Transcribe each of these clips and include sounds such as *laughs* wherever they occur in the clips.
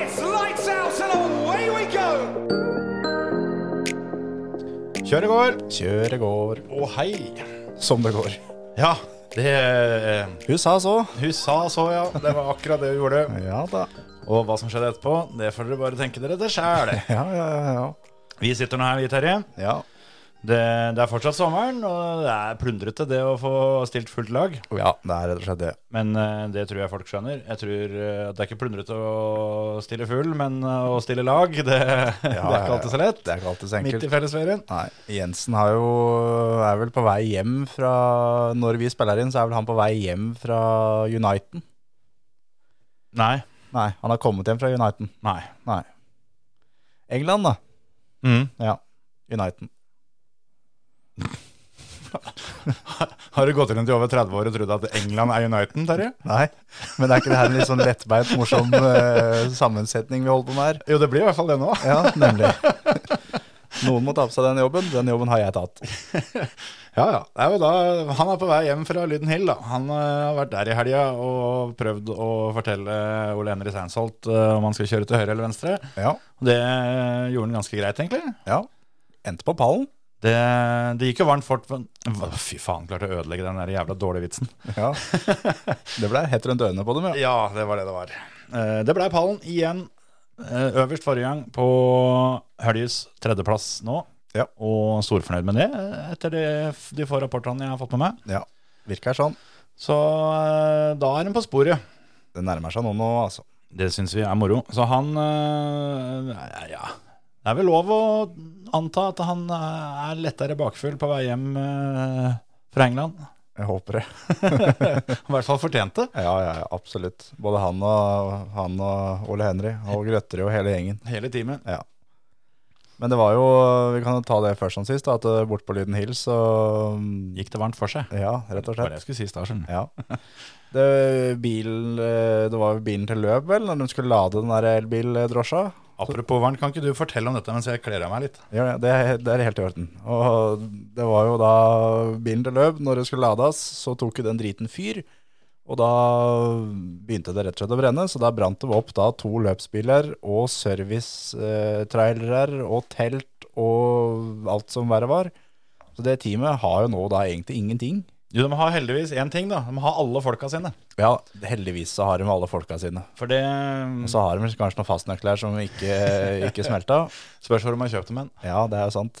It's lights out and away we go! Kjøret går, Kjøret går og hei. som det går. Ja, det eh, USA så. Hun sa så, ja. Det var akkurat det hun gjorde. Ja da. Og hva som skjedde etterpå, det får dere bare tenke dere til sjæl. *laughs* Ja, ja, ja. ja. Vi sitter nå her, vi, Terje. ja. Det, det er fortsatt sommeren, og det er plundrete det å få stilt fullt lag. Oh, ja, det er rett og slett det. Men eh, det tror jeg folk skjønner. Jeg tror eh, at Det er ikke plundrete å stille full, men eh, å stille lag, det, *laughs* det er ja, ikke alltid så lett. Det er ikke alltid så Midt enkelt. i fellesferien. Nei, Jensen har jo, er vel på vei hjem fra Når vi spiller inn, så er vel han på vei hjem fra Uniten. Nei. Nei, han har kommet hjem fra Uniten. Nei. Nei. England, da. Mm. Ja. Uniten. *laughs* Har du gått rundt i over 30 år og trodd at England er Uniten, Terje? Nei, men det er ikke det her en litt sånn lettbeint, morsom eh, sammensetning vi holder på med her? Jo, det blir i hvert fall det nå. Ja, nemlig. Noen må ta på seg den jobben. Den jobben har jeg tatt. *laughs* Ja, ja. Det er jo da, han er på vei hjem fra Lyden Hill. Da. Han eh, har vært der i helga og prøvd å fortelle Ole Henri Seinsholt eh, om han skal kjøre til høyre eller venstre. Ja. Og Det eh, gjorde han ganske greit, egentlig. Ja. Endte på pallen. Det, det gikk jo varmt fort. Men, Hva- fy faen, klarte å ødelegge den der jævla dårlige vitsen. Ja. Det ble hett rundt ørene på dem, ja. Ja, det var det det var. Eh, Det blei pallen igjen. eh, Øverst forrige gang på Høljes tredjeplass nå. Ja. Og storfornøyd med det, eh, etter det, de få rapportene jeg har fått med meg. ja. Virker sånn. Så eh, da er han på sporet. Det nærmer seg nå nå, altså. Det syns vi er moro. Så han øh, ja, ja. Det er vel lov å anta at han øh, er lettere bakfull på vei hjem øh, fra England. Jeg håper det. I hvert fall fortjente. Ja, ja, ja, absolutt. Både han og, han og Ole Henry og Grøtterud og hele gjengen. Hele teamet. Ja. Men det var jo Vi kan jo ta det først som sist, da, at eh, bort på Lyden Hill, så mm, Gikk det varmt for seg. Ja, rett og Det var slett. det jeg skulle si i starten. Ja. Det, bilen, eh, det var jo bilen til løp, vel, når de skulle lade den der elbildrosja. Apropos varmt, kan ikke du fortelle om dette mens jeg kler av meg litt? Gjør det. Det, det er helt i orden. Og det var jo da bilen til løp, når det skulle lades, så tok jo den driten fyr. Og da begynte det rett og slett å brenne, så da brant det opp da to løpsbiler og servicetrailere og telt og alt som verre var. Så det teamet har jo nå da egentlig ingenting. Jo, De har heldigvis én ting, da. De har alle folka sine. Ja, heldigvis så har de alle folka sine. For det um, Og så har de vel kanskje noen fastnøkler som ikke, ikke smelta. spørs hvor de har kjøpt dem hen. Ja, det er jo sant.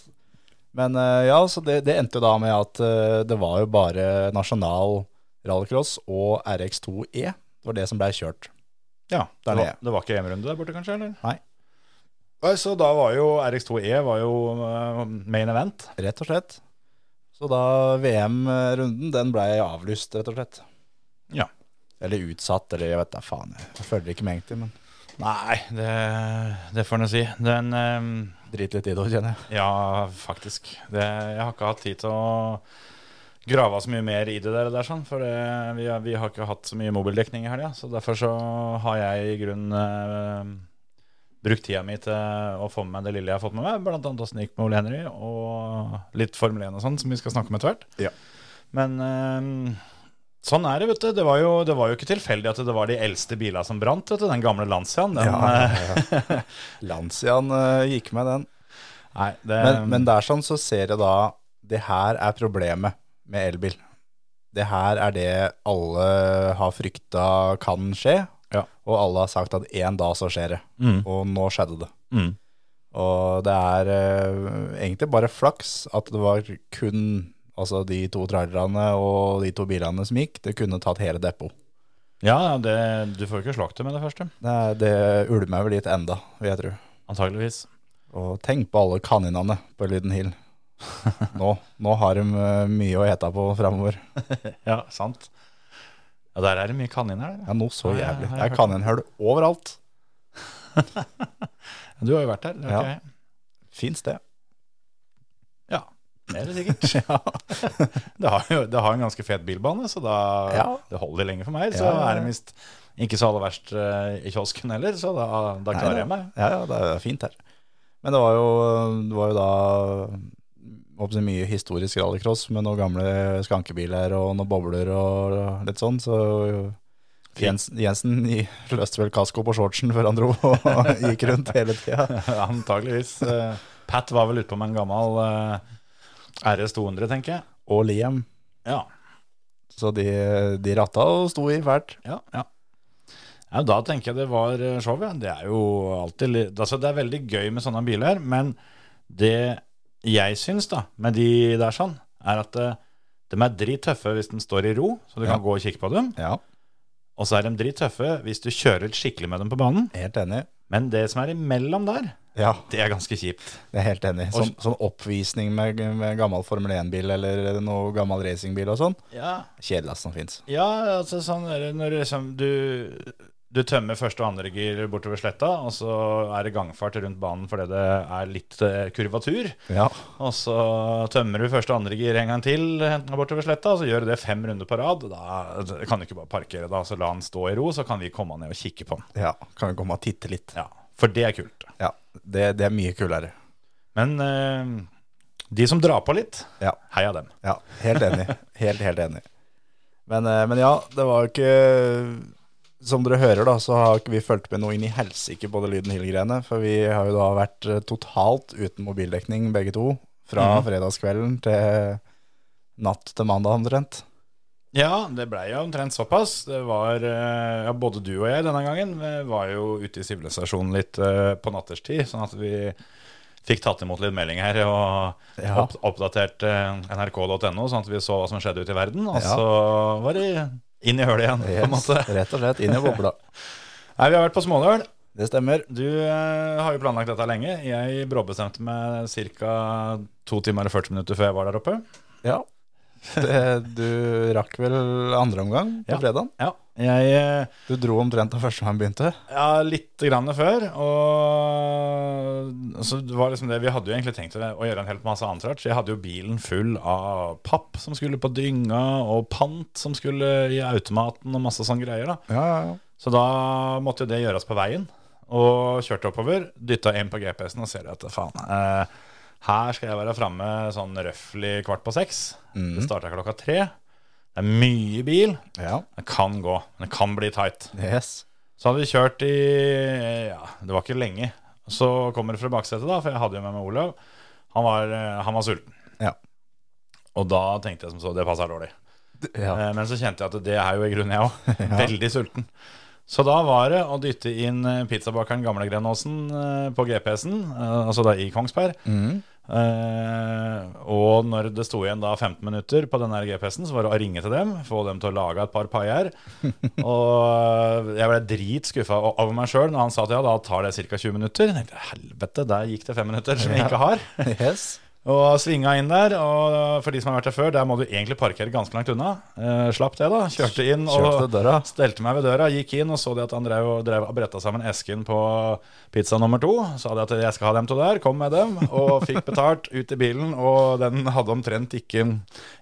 Men eh, ja, så det, det endte jo da med at eh, det var jo bare nasjonal rallycross og RX2E. E. Det var det som ble kjørt. Ja, Der det, er var, jeg. det var ikke EM-runde der borte, kanskje? eller? Nei. Nei, Så da var jo RX2E E var jo øh, main event. Rett og slett. Så da VM-runden, den ble avlyst, rett og slett. Ja. Eller utsatt, eller jeg vet da faen. Jeg følger ikke med egentlig, men Nei, det, det får en si. Den ehm, drit litt i det, kjenner jeg. Ja, faktisk. Det, jeg har ikke hatt tid til å grave så mye mer i det der, der sånn, for det, vi, har- vi har ikke hatt så mye mobildekning i helga. Så derfor så har jeg i grunnen eh, brukt tida mi til å få med meg det lille jeg har fått med meg, blant annet åssen det gikk med Ole Henry, og litt Formel 1 og sånn, som vi skal snakke om etter hvert. Ja. Men eh, sånn er det, vet du. Det var, jo, det var jo ikke tilfeldig at det var de eldste bilene som brant, vet du. Den gamle Lanciaen. Den, eh, *laughs* Lancian eh, gikk med den. nei, det, Men, men der sånn så ser jeg da Det her er problemet med elbil. Det her er det alle har frykta kan skje, Ja. og alle har sagt at en dag så skjer det. Mm. Og nå skjedde det. Mm. Og det er eh, egentlig bare flaks at det var kun altså de to trailerne og de to bilene som gikk. Det kunne tatt hele depot. Ja, det, du får jo ikke slakt det med det første. Det, er- det ulmer vel litt enda, vil jeg tro. Antageligvis. Og tenk på alle kaninene på Lyden Hill. Nå, nå har de eh, mye å ete på framover. Ja, sant. Ja, der er det mye kaniner. Der. Ja, noe så Ja, ja, jævlig. Det ja, jeg er hørte kaninhull overalt. Du har jo vært der. det har Ja. ikke jeg. Fint sted. Ja, det er det *laughs* sikkert. Ja. Det har, jo, det har en ganske fet bilbane, så da, Ja. det holder lenge for meg. Så Ja, ja, ja. er det visst ikke så aller verst eh, i kiosken heller, så da, da klarer jeg meg. *laughs* Ja, ja, det er fint her. Men det var jo, det var jo da håper jeg, mye historisk rallycross med noen gamle skankebiler og noen bobler og litt sånn, så Jensen, Jensen i- løste vel kasko på shortsen før han dro og *laughs* gikk rundt hele tida. Antageligvis. Eh, Pat var vel ute på med en gammel eh, RS 200, tenker jeg. Og Liam. Ja, Så de, de ratta og sto i fælt. ja, ja. Ja, da tenker jeg det var eh, show, ja. Det er jo alltid li- altså, Det er veldig gøy med sånne biler, men det jeg syns da, med de der sånn, er at eh, de er drittøffe hvis den står i ro, så du Ja. kan gå og kikke på dem. Ja, Og så er de drittøffe hvis du kjører litt skikkelig med dem på banen. helt enig. Men det som er imellom der, Ja, det er ganske kjipt. jeg er helt enig. Og- Sånn, sånn oppvisning med, med gammel Formel 1-bil eller noe gammel racingbil og sånn. Ja, Kjedeligst som fins. altså sånn er det når du liksom du, du tømmer første og andre gir bortover sletta, og så er det gangfart rundt banen fordi det er litt eh, kurvatur. Ja. Og så tømmer du første og andre gir en gang til eh, bortover sletta, og så gjør du det fem runder på rad. Da altså, kan du ikke bare parkere, da, så la han stå i ro, så kan vi komme ned og kikke på han. Ja, kan vi komme og titte litt. Ja, For det er kult. Ja, det, det er mye kulere. Men eh, de som drar på litt, Ja, heia dem. ja helt enig. *laughs* Helt, helt enig. Men, eh, men ja, det var jo ikke Som dere hører, da, så har ikke vi fulgt med noe inn i helsike på det Lyden Hill-greiene. For vi har jo da vært eh, totalt uten mobildekning, begge to. Fra Mhm. fredagskvelden til natt til mandag, omtrent. Ja, det blei jo omtrent såpass. Det var, eh, ja, Både du og jeg denne gangen eh, var jo ute i sivilisasjonen litt eh, på natterstid, sånn at vi fikk tatt imot litt meldinger her og Ja. opp, oppdatert eh, nrk.no, sånn at vi så hva som skjedde ute i verden. Og Ja. så var det inn i hølet igjen, på en måte. Rett og slett inn i *laughs* bobla. Nei, Vi har vært på Småløl. Det stemmer. Du eh, har jo planlagt dette lenge. Jeg bråbestemte meg ca. to timer og 40 minutter før jeg var der oppe. Ja. Det, du rakk vel andre omgang på Ja. fredagen? Ja, jeg... eh, Du dro omtrent da første gang begynte? Ja, litt grann før. Og så det var liksom det, Vi hadde jo egentlig tenkt å å gjøre en helt masse annet rart. Så jeg hadde jo bilen full av papp som skulle på dynga, og pant som skulle i automaten, og masse sånne greier. da Ja, ja, ja. Så da måtte jo det gjøres på veien. Og kjørte oppover, dytta inn på GPS-en og ser at faen eh, Her skal jeg være framme sånn røftlig kvart på seks. Mm. Det starta klokka tre. Det er mye bil. Ja, Det kan gå, men det kan bli tight. yes. Så hadde vi kjørt i Ja, det var ikke lenge. Så kommer det fra baksetet, da, for jeg hadde jo med meg Olav. Han var, eh, han var sulten. Ja. Og da tenkte jeg som så, det passer dårlig. Ja. Eh, Men så kjente jeg at det er jo i grunnen jeg òg. Veldig sulten. Så da var det å dytte inn eh, pizzabakeren Gamle Grenåsen eh, på GPS-en, eh, altså da i Kongsberg. Eh, og når det sto igjen da 15 minutter på den her GPS-en, så var det å ringe til dem, få dem til å lage et par paier. og eh, jeg ble dritskuffa over meg sjøl når han sa at ja, da tar det ca. 20 minutter. Jeg tenkte helvete, der gikk det fem minutter som jeg ikke har. Yes. Og svinga inn der, og for de som har vært der før, der må du egentlig parkere ganske langt unna. Eh, slapp det, da. Kjørte inn og Kjørte til døra. stelte meg ved døra, gikk inn og så det at han drev og, drev og bretta sammen esken på pizza nummer to. Sa det at jeg skal ha dem to der, kom med dem, og *laughs* fikk betalt ut i bilen. Og den hadde omtrent ikke,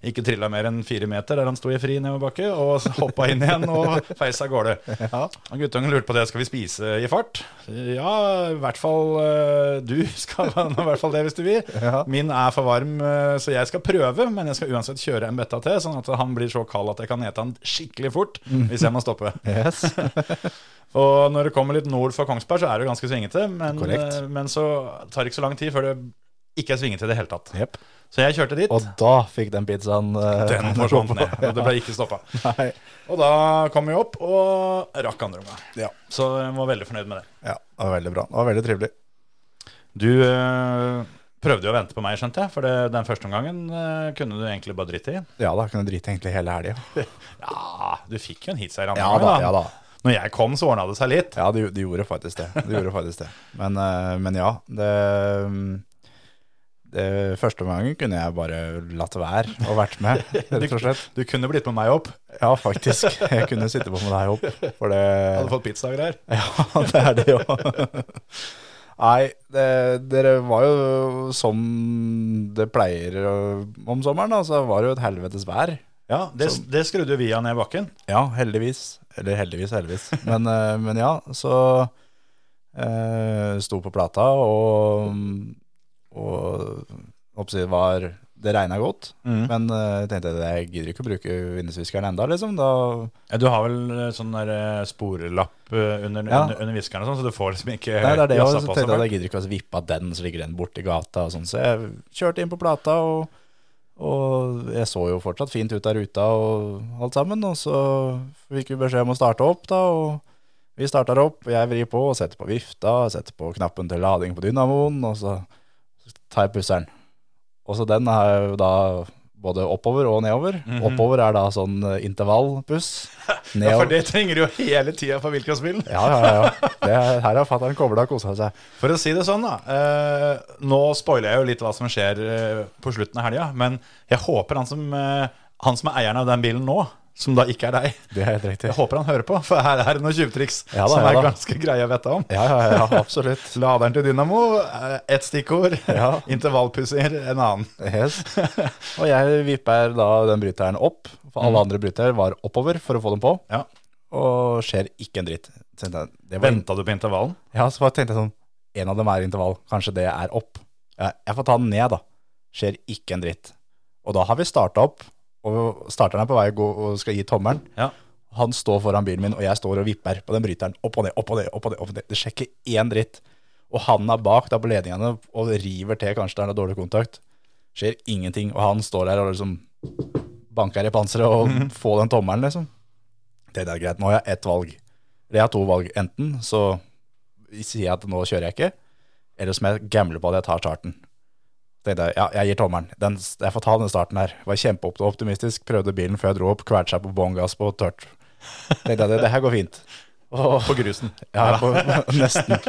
ikke trilla mer enn fire meter der han sto i fri nedoverbakke, og hoppa inn igjen og feis av gårde. Ja. Og Guttungen lurte på det, skal vi spise i fart? Ja, i hvert fall eh, du skal i hvert fall det hvis du vil. Ja. Min er for varm, eh, så jeg skal prøve, men jeg skal uansett kjøre en betta til, sånn at han blir så kald at jeg kan ete han skikkelig fort Mm. hvis jeg må stoppe. Yes. Og når det kommer litt nord for Kongsberg, så er det jo ganske svingete, men, Korrekt. eh, men så tar det ikke så lang tid før det ikke er svingete i det hele tatt. *laughs* Jep. Så jeg kjørte dit. Og da fikk den pizzaen eh, *laughs* den forsvant ned, og det ble ikke stoppa. Nei. Og da kom jeg opp og rakk andre omgang. Ja. Så jeg var veldig fornøyd med det. ja, det var veldig bra. Det var veldig trivelig. Du eh, prøvde jo å vente på meg, skjønte jeg. For det, den første omgangen eh, kunne du egentlig bare drite i. Ja da, kunne drite egentlig hele helga. Ja, du fikk jo en hit seier andre Ja gangen, da, da. ja da. Når jeg kom, så ordna det seg litt. Ja, de, de gjorde faktisk det. De gjorde faktisk det. Men, eh, men ja, det, det Første gangen kunne jeg bare latt være og vært med, rett og *laughs* slett. Du kunne blitt med meg opp. Ja, faktisk. Jeg kunne sitte på med deg opp, for det *laughs* Hadde fått pizza og greier. Ja, det er det jo. Nei, Nei, det, dere var jo som det pleier ø, om sommeren, da, så var det jo et helvetes vær. Ja, det, det skrudde jo vi av ned bakken. Ja, heldigvis. Eller heldigvis, heldigvis. Men, eh, men ja, så eh, sto på plata, og, og håper jeg det var Det regna godt, men eh, tenkte jeg jeg gidder ikke å bruke vindusviskeren enda, liksom. Da, Ja, du har vel eh, sånn der eh, sporelapp eh, under, Ja. under, under viskeren og sånn, så du får liksom ikke nei, det er det jeg jassa også på tenkte seg at jeg gidder ikke å vippe av den, så ligger den borti gata og sånn. Så jeg kjørte inn på plata, og, og jeg så jo fortsatt fint ut av ruta og alt sammen. Og så fikk vi beskjed om å starte opp, da. og Vi starter opp, jeg vrir på og setter på vifta, setter på knappen til lading på dynamoen, og så tar jeg pusseren. Og så den er jo da både oppover og nedover. Oppover er da sånn eh, intervallpuss. Mhm. *laughs* Ja, Nedover for det trenger du jo hele tida for Wilkins-bilen. Ja, ja, ja. Det, er- her har fatter'n kobla og kosa seg. For å si det sånn, da. Eh, nå spoiler jeg jo litt hva som skjer eh, på slutten av helga, men jeg håper han som, eh, han som er eieren av den bilen nå, som da ikke er deg, Det er helt riktig. jeg håper han hører på, for her er det noen tjuvtriks Ja da, som ja er da. ganske greie å vite om. Ja, ja, ja, absolutt. Laderen til dynamo, eh, ett stikkord. *laughs* Ja. Intervallpusser, en annen. Yes. Og jeg vipper da den bryteren opp, for alle andre brytere var oppover for å få dem på, Ja. og skjer ikke en dritt. Så tenkte jeg, Det var, Venta du på intervallen? ja, så bare tenkte jeg sånn, en av dem er intervall, kanskje det er opp. Ja, jeg får ta den ned da. Skjer ikke en dritt. Og da har vi startet opp, og starteren er på vei å gå og skal gi tommeren. Ja. Han står foran bilen min, og jeg står og vipper på den bryteren. Opp og ned, opp og ned, opp og ned. opp og ned. Det sjekker én dritt. Og han er bak da på ledningene og river til, kanskje det er noe dårlig kontakt. Skjer ingenting, og han står der og liksom banker i panseret og Mhm. får den tommelen, liksom. Det er greit, nå har jeg ett valg. Eller jeg har to valg. Enten så sier jeg at nå kjører jeg ikke, eller så må jeg gamble på at jeg tar starten. Tenkte jeg, ja, jeg gir tommelen. Den, jeg får ta den starten her. Var kjempeoptimistisk, prøvde bilen før jeg dro opp, kvalte seg på bånn gass på tørt. Tenkte jeg, det, det her går fint. På grusen. Ja, på, nesten.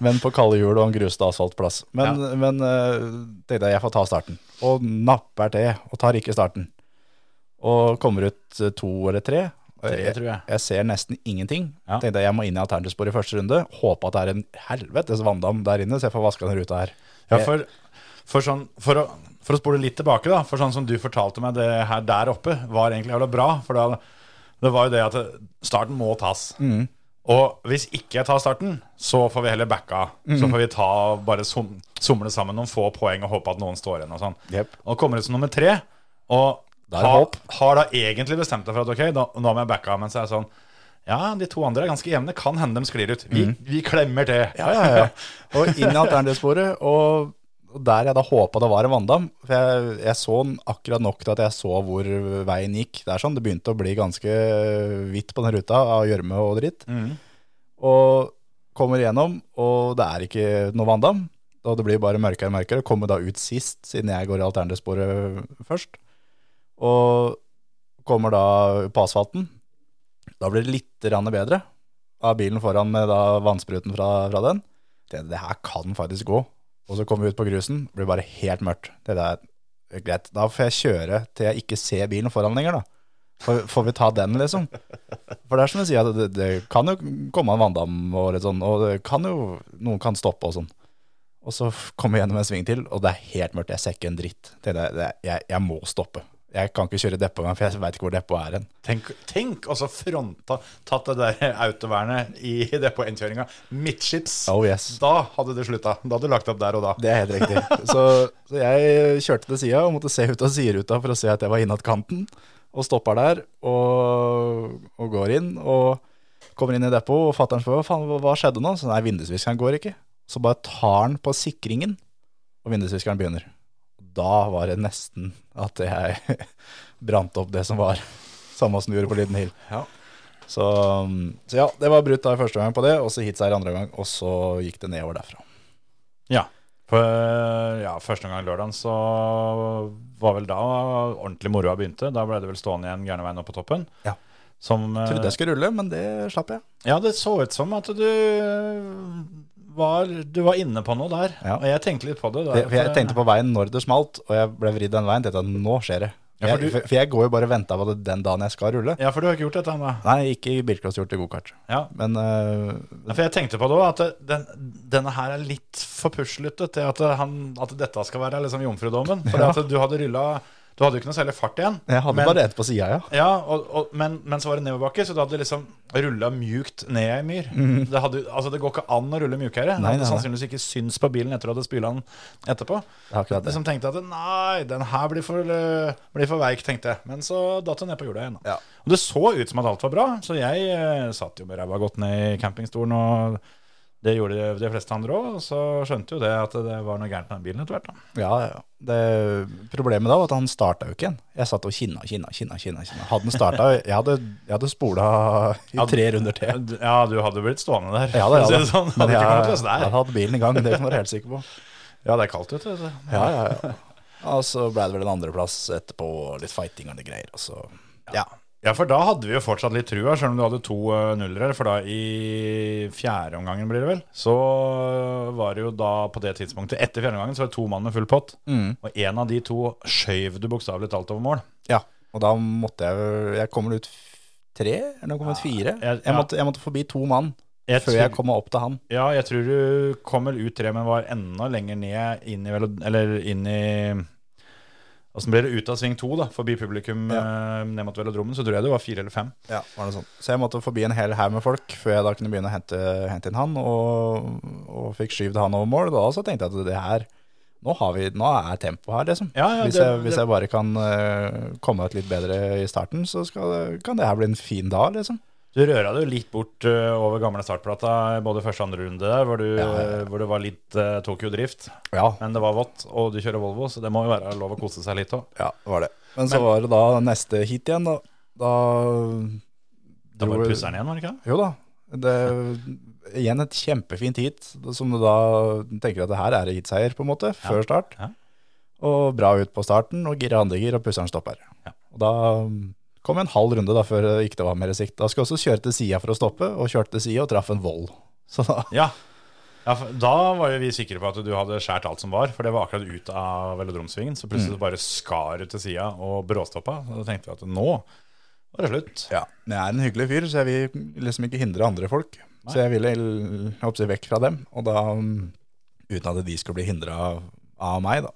Men på kalde hjul og en gruste asfaltplass. Men, men eh, tenkte jeg, jeg får ta starten. Og napper til, og tar ikke starten. Og kommer ut eh, to eller tre. Tre, tror jeg. jeg ser nesten ingenting. Ja. Tenkte jeg, jeg må inn i alternativspor i første runde. Håpe at det er en helvetes vanndam der inne, så jeg får vaska den ruta her. Ja, for, for, sånn, for, å, for å spole litt tilbake, da. For sånn som du fortalte meg, det her der oppe var egentlig jævla bra. For da, det var jo det at det- starten må tas. Mm. Og hvis ikke jeg tar starten, så får vi heller backa. Mm. Så får vi ta, bare sum, somle sammen noen få poeng og håpe at noen står igjen og sånn. Jep. Og kommer ut som nummer tre, og Da er det har- håp. har da egentlig bestemt deg for at ok, da, nå må jeg backa. Men så er det sånn ja, de to andre er ganske jevne. Kan hende de sklir ut. Vi, vi klemmer til. Mhm. Ja, ja, ja. Og inn i alternativsporet, og og der jeg da håpa det var en vanndam. For jeg, jeg så den akkurat nok til at jeg så hvor veien gikk. Det er sånn, det begynte å bli ganske hvitt på den ruta av gjørme og dritt. Og kommer gjennom, og det er ikke noe vanndam. Og det blir bare mørkere og mørkere. Kommer da ut sist, siden jeg går i alternativsporet først. Og kommer da på asfalten. Da blir det litt grann bedre av bilen foran med da vannspruten fra, fra den. Tenkte, det her kan faktisk gå. Og så kommer vi ut på grusen, blir bare helt mørkt. Det der er greit. Da får jeg kjøre til jeg ikke ser bilen foran lenger, da. Får, får vi ta den, liksom? For det er som jeg sier, at det, det kan jo komme en vanndam og litt sånn, og det kan jo, noen kan stoppe og sånn. Og så f- kommer vi gjennom en sving til, og det er helt mørkt. Jeg ser ikke en dritt. Tenkte, jeg, det, jeg, jeg må stoppe. Jeg kan ikke kjøre depot engang, for jeg veit ikke hvor depot er hen. *laughs* Tenk, tenk også fronta Tatt det der autovernet i det på innkjøringa Midtskips Oh, yes. Da hadde det slutta Da hadde du lagt opp der og da Det er helt riktig. Så, så jeg kjørte til sida og måtte se ut av sideruta for å se at jeg var innat kanten, og stopper der og, og går inn. Og kommer inn i depot, og fatter'n spør hva faen, hva- hva skjedde nå? Så nei, vindusviskeren går ikke. Så bare tar han på sikringen, og vindusviskeren begynner. Da var det nesten at jeg *laughs* brant opp det som var. Samme som du gjorde på Liden Hill. Ja. Så, så ja, det var brutt da i første gang på det, og så hitseier andre gang, og så gikk det nedover derfra. Ja For ja, første gang lørdagen så Var vel da ordentlig moroa begynte Da ble det vel stående igjen gjerne veien opp på toppen Ja. Som eh, Trodde jeg skulle rulle, men det slapp jeg. Ja, det så ut som at du var, du var inne på noe der Ja. Og jeg tenkte litt på det, Det, for jeg tenkte på veien når det smalt, og jeg ble vridd den veien. Tenkte at nå skjer det. Ja, for Jeg, du- for jeg går jo bare og venter på det den dagen jeg skal rulle. Ja, for du har ikke gjort dette ennå. Nei, ikke bilcrosshjort til gokart. Ja. Men øh, Ja, for jeg tenkte på det òg, at det- den, denne her er litt for puslete til at, han, at dette skal være liksom jomfrudommen. For Ja. at du hadde rylla Du hadde jo ikke noe særlig fart igjen. jeg hadde men, bare ett på sida, ja. Ja, og, og, men, men så var det nedoverbakke, så du hadde liksom rulla mjukt ned ei myr. Det, hadde, altså, det går ikke an å rulle mjukere. Mhm. Nei, det nei, hadde nei. sannsynligvis ikke syns på bilen etter at du hadde spyla den etterpå. Det er akkurat det. Liksom tenkte at nei, den her blir for, eh, blir for veik, tenkte jeg. Men så datt hun ned på jorda igjen. da. Ja. Og det så ut som at alt var bra, så jeg eh, satt jo med ræva godt ned i campingstolen. og det gjorde de fleste andre òg, og så skjønte jo det at det var noe gærent med den bilen etter hvert. da. ja, ja. Det, problemet da var at han starta jo ikke igjen. Jeg satt og kinna, kinna, kinna. kinna, kinna. Hadde han starta Jeg hadde, jeg hadde spola i tre runder til. Ja, du hadde blitt stående der. Ja, det for å si hadde det sånn. Men Hadde ikke kommet jeg. løs Jeg der. hadde hatt bilen i gang, det kan du være helt sikker på. Ja, det er kaldt ute. vet du. Ja, ja, ja. *laughs* Og så ble det vel en andreplass etterpå, og litt fighting og litt greier. Og så, ja. Ja, for da hadde vi jo fortsatt litt trua, selv om du hadde to eh, nullere. For da i fjerde omgangen, blir det vel, så var det jo da på det tidspunktet Etter fjerde omgangen så var det to mann med full pott. Mm. Og en av de to skjøv du bokstavelig talt over mål. Ja, og da måtte jeg Jeg kom vel ut f- tre, eller jeg kom ut fire. jeg- Jeg måtte, jeg måtte forbi to mann Jeg før tror- jeg kom meg opp til han. Ja, jeg tror du kom vel ut tre, men var enda lenger ned inn i vel, Eller inn i Åssen ble det ut av sving to, da? Forbi publikum eh, ned mot velodromen. Så tror jeg det var fire eller fem. Ja, var det sånn. Så jeg måtte forbi en hel haug med folk før jeg da kunne begynne å hente, hente inn han, og, og fikk skyvd han over mål. Da så tenkte jeg at det her nå, har vi, nå er tempo her, liksom. Ja, ja, hvis, det- jeg, hvis det- jeg bare kan eh, komme ut litt bedre i starten, så skal, det- kan det her bli en fin dag, liksom. Du røra det jo litt bort ø, over gamle startplata i både første og andre runde der, hvor, du, Ja, ja, ja. ø, hvor det var litt ø, Tokyo-drift. Ja, Men det var vått, og du kjører Volvo, så det må jo være lov å kose seg litt òg. ja, det var det. Men så var det da neste hit igjen, da. da Da var Tror- det pusseren igjen, var det ikke det? Jo da. Det, igjen et kjempefint heat, som du da tenker at det her er hitseier, på en måte, før start. Ja. Og bra ut på starten, og gira andregir, og pusseren stopper. Ja. Og da um, kom en halv runde da, før det ikke var mer sikt. Da skulle jeg også kjøre til sida for å stoppe, og kjørte til sida og traff en vold. Så da, Ja. ja for da var jo vi sikre på at du hadde skåret alt som var, for det var akkurat ut av velodromsvingen. Så Mm. plutselig bare skar du til sida og bråstoppa. Og da tenkte vi at nå var det slutt. ja. Men jeg er en hyggelig fyr, så jeg vil liksom ikke hindre andre folk. Så jeg ville l- hoppsi, vekk fra dem, og da um, uten at de skulle bli hindra av, av meg, da.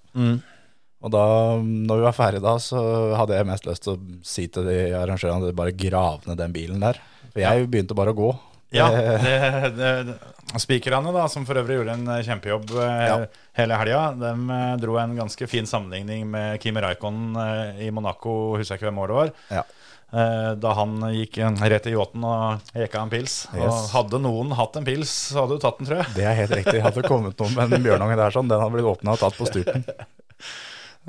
Og da, når vi var ferdige da, så hadde jeg mest lyst til å si til de arrangørene at de bare grav ned den bilen der. For jeg begynte bare å gå. Ja, Eh, det, det, Spikerne, da, som for øvrig gjorde en eh, kjempejobb eh, Ja. hele helga, de eh, dro en ganske fin sammenligning med Kimi Raikkonen eh, i Monaco, husker jeg ikke hvem år det var. *laughs* Ja. Eh, Da han gikk eh, rett i yachten og jekka en pils. Og Yes. hadde noen hatt en pils, så hadde du tatt den, tror jeg. Det er helt riktig. Hadde det kommet noe med en bjørnunge der sånn, den hadde blitt åpna og tatt på styrten.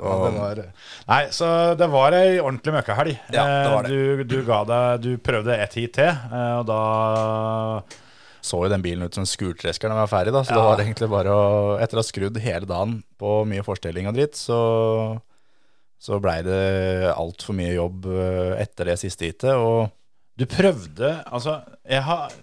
Og, eh, Nei, så det var ei ordentlig møkkahelg. Ja, det var Eh, Du, du ga deg Du prøvde ett hit til, eh, og da så jo den bilen ut som en skurtresker når vi var ferdig, da. Så det var egentlig bare å Etter å ha skrudd hele dagen på mye forstilling og dritt, så, så blei det altfor mye jobb eh, etter det siste hitet. Og Du prøvde Altså, jeg har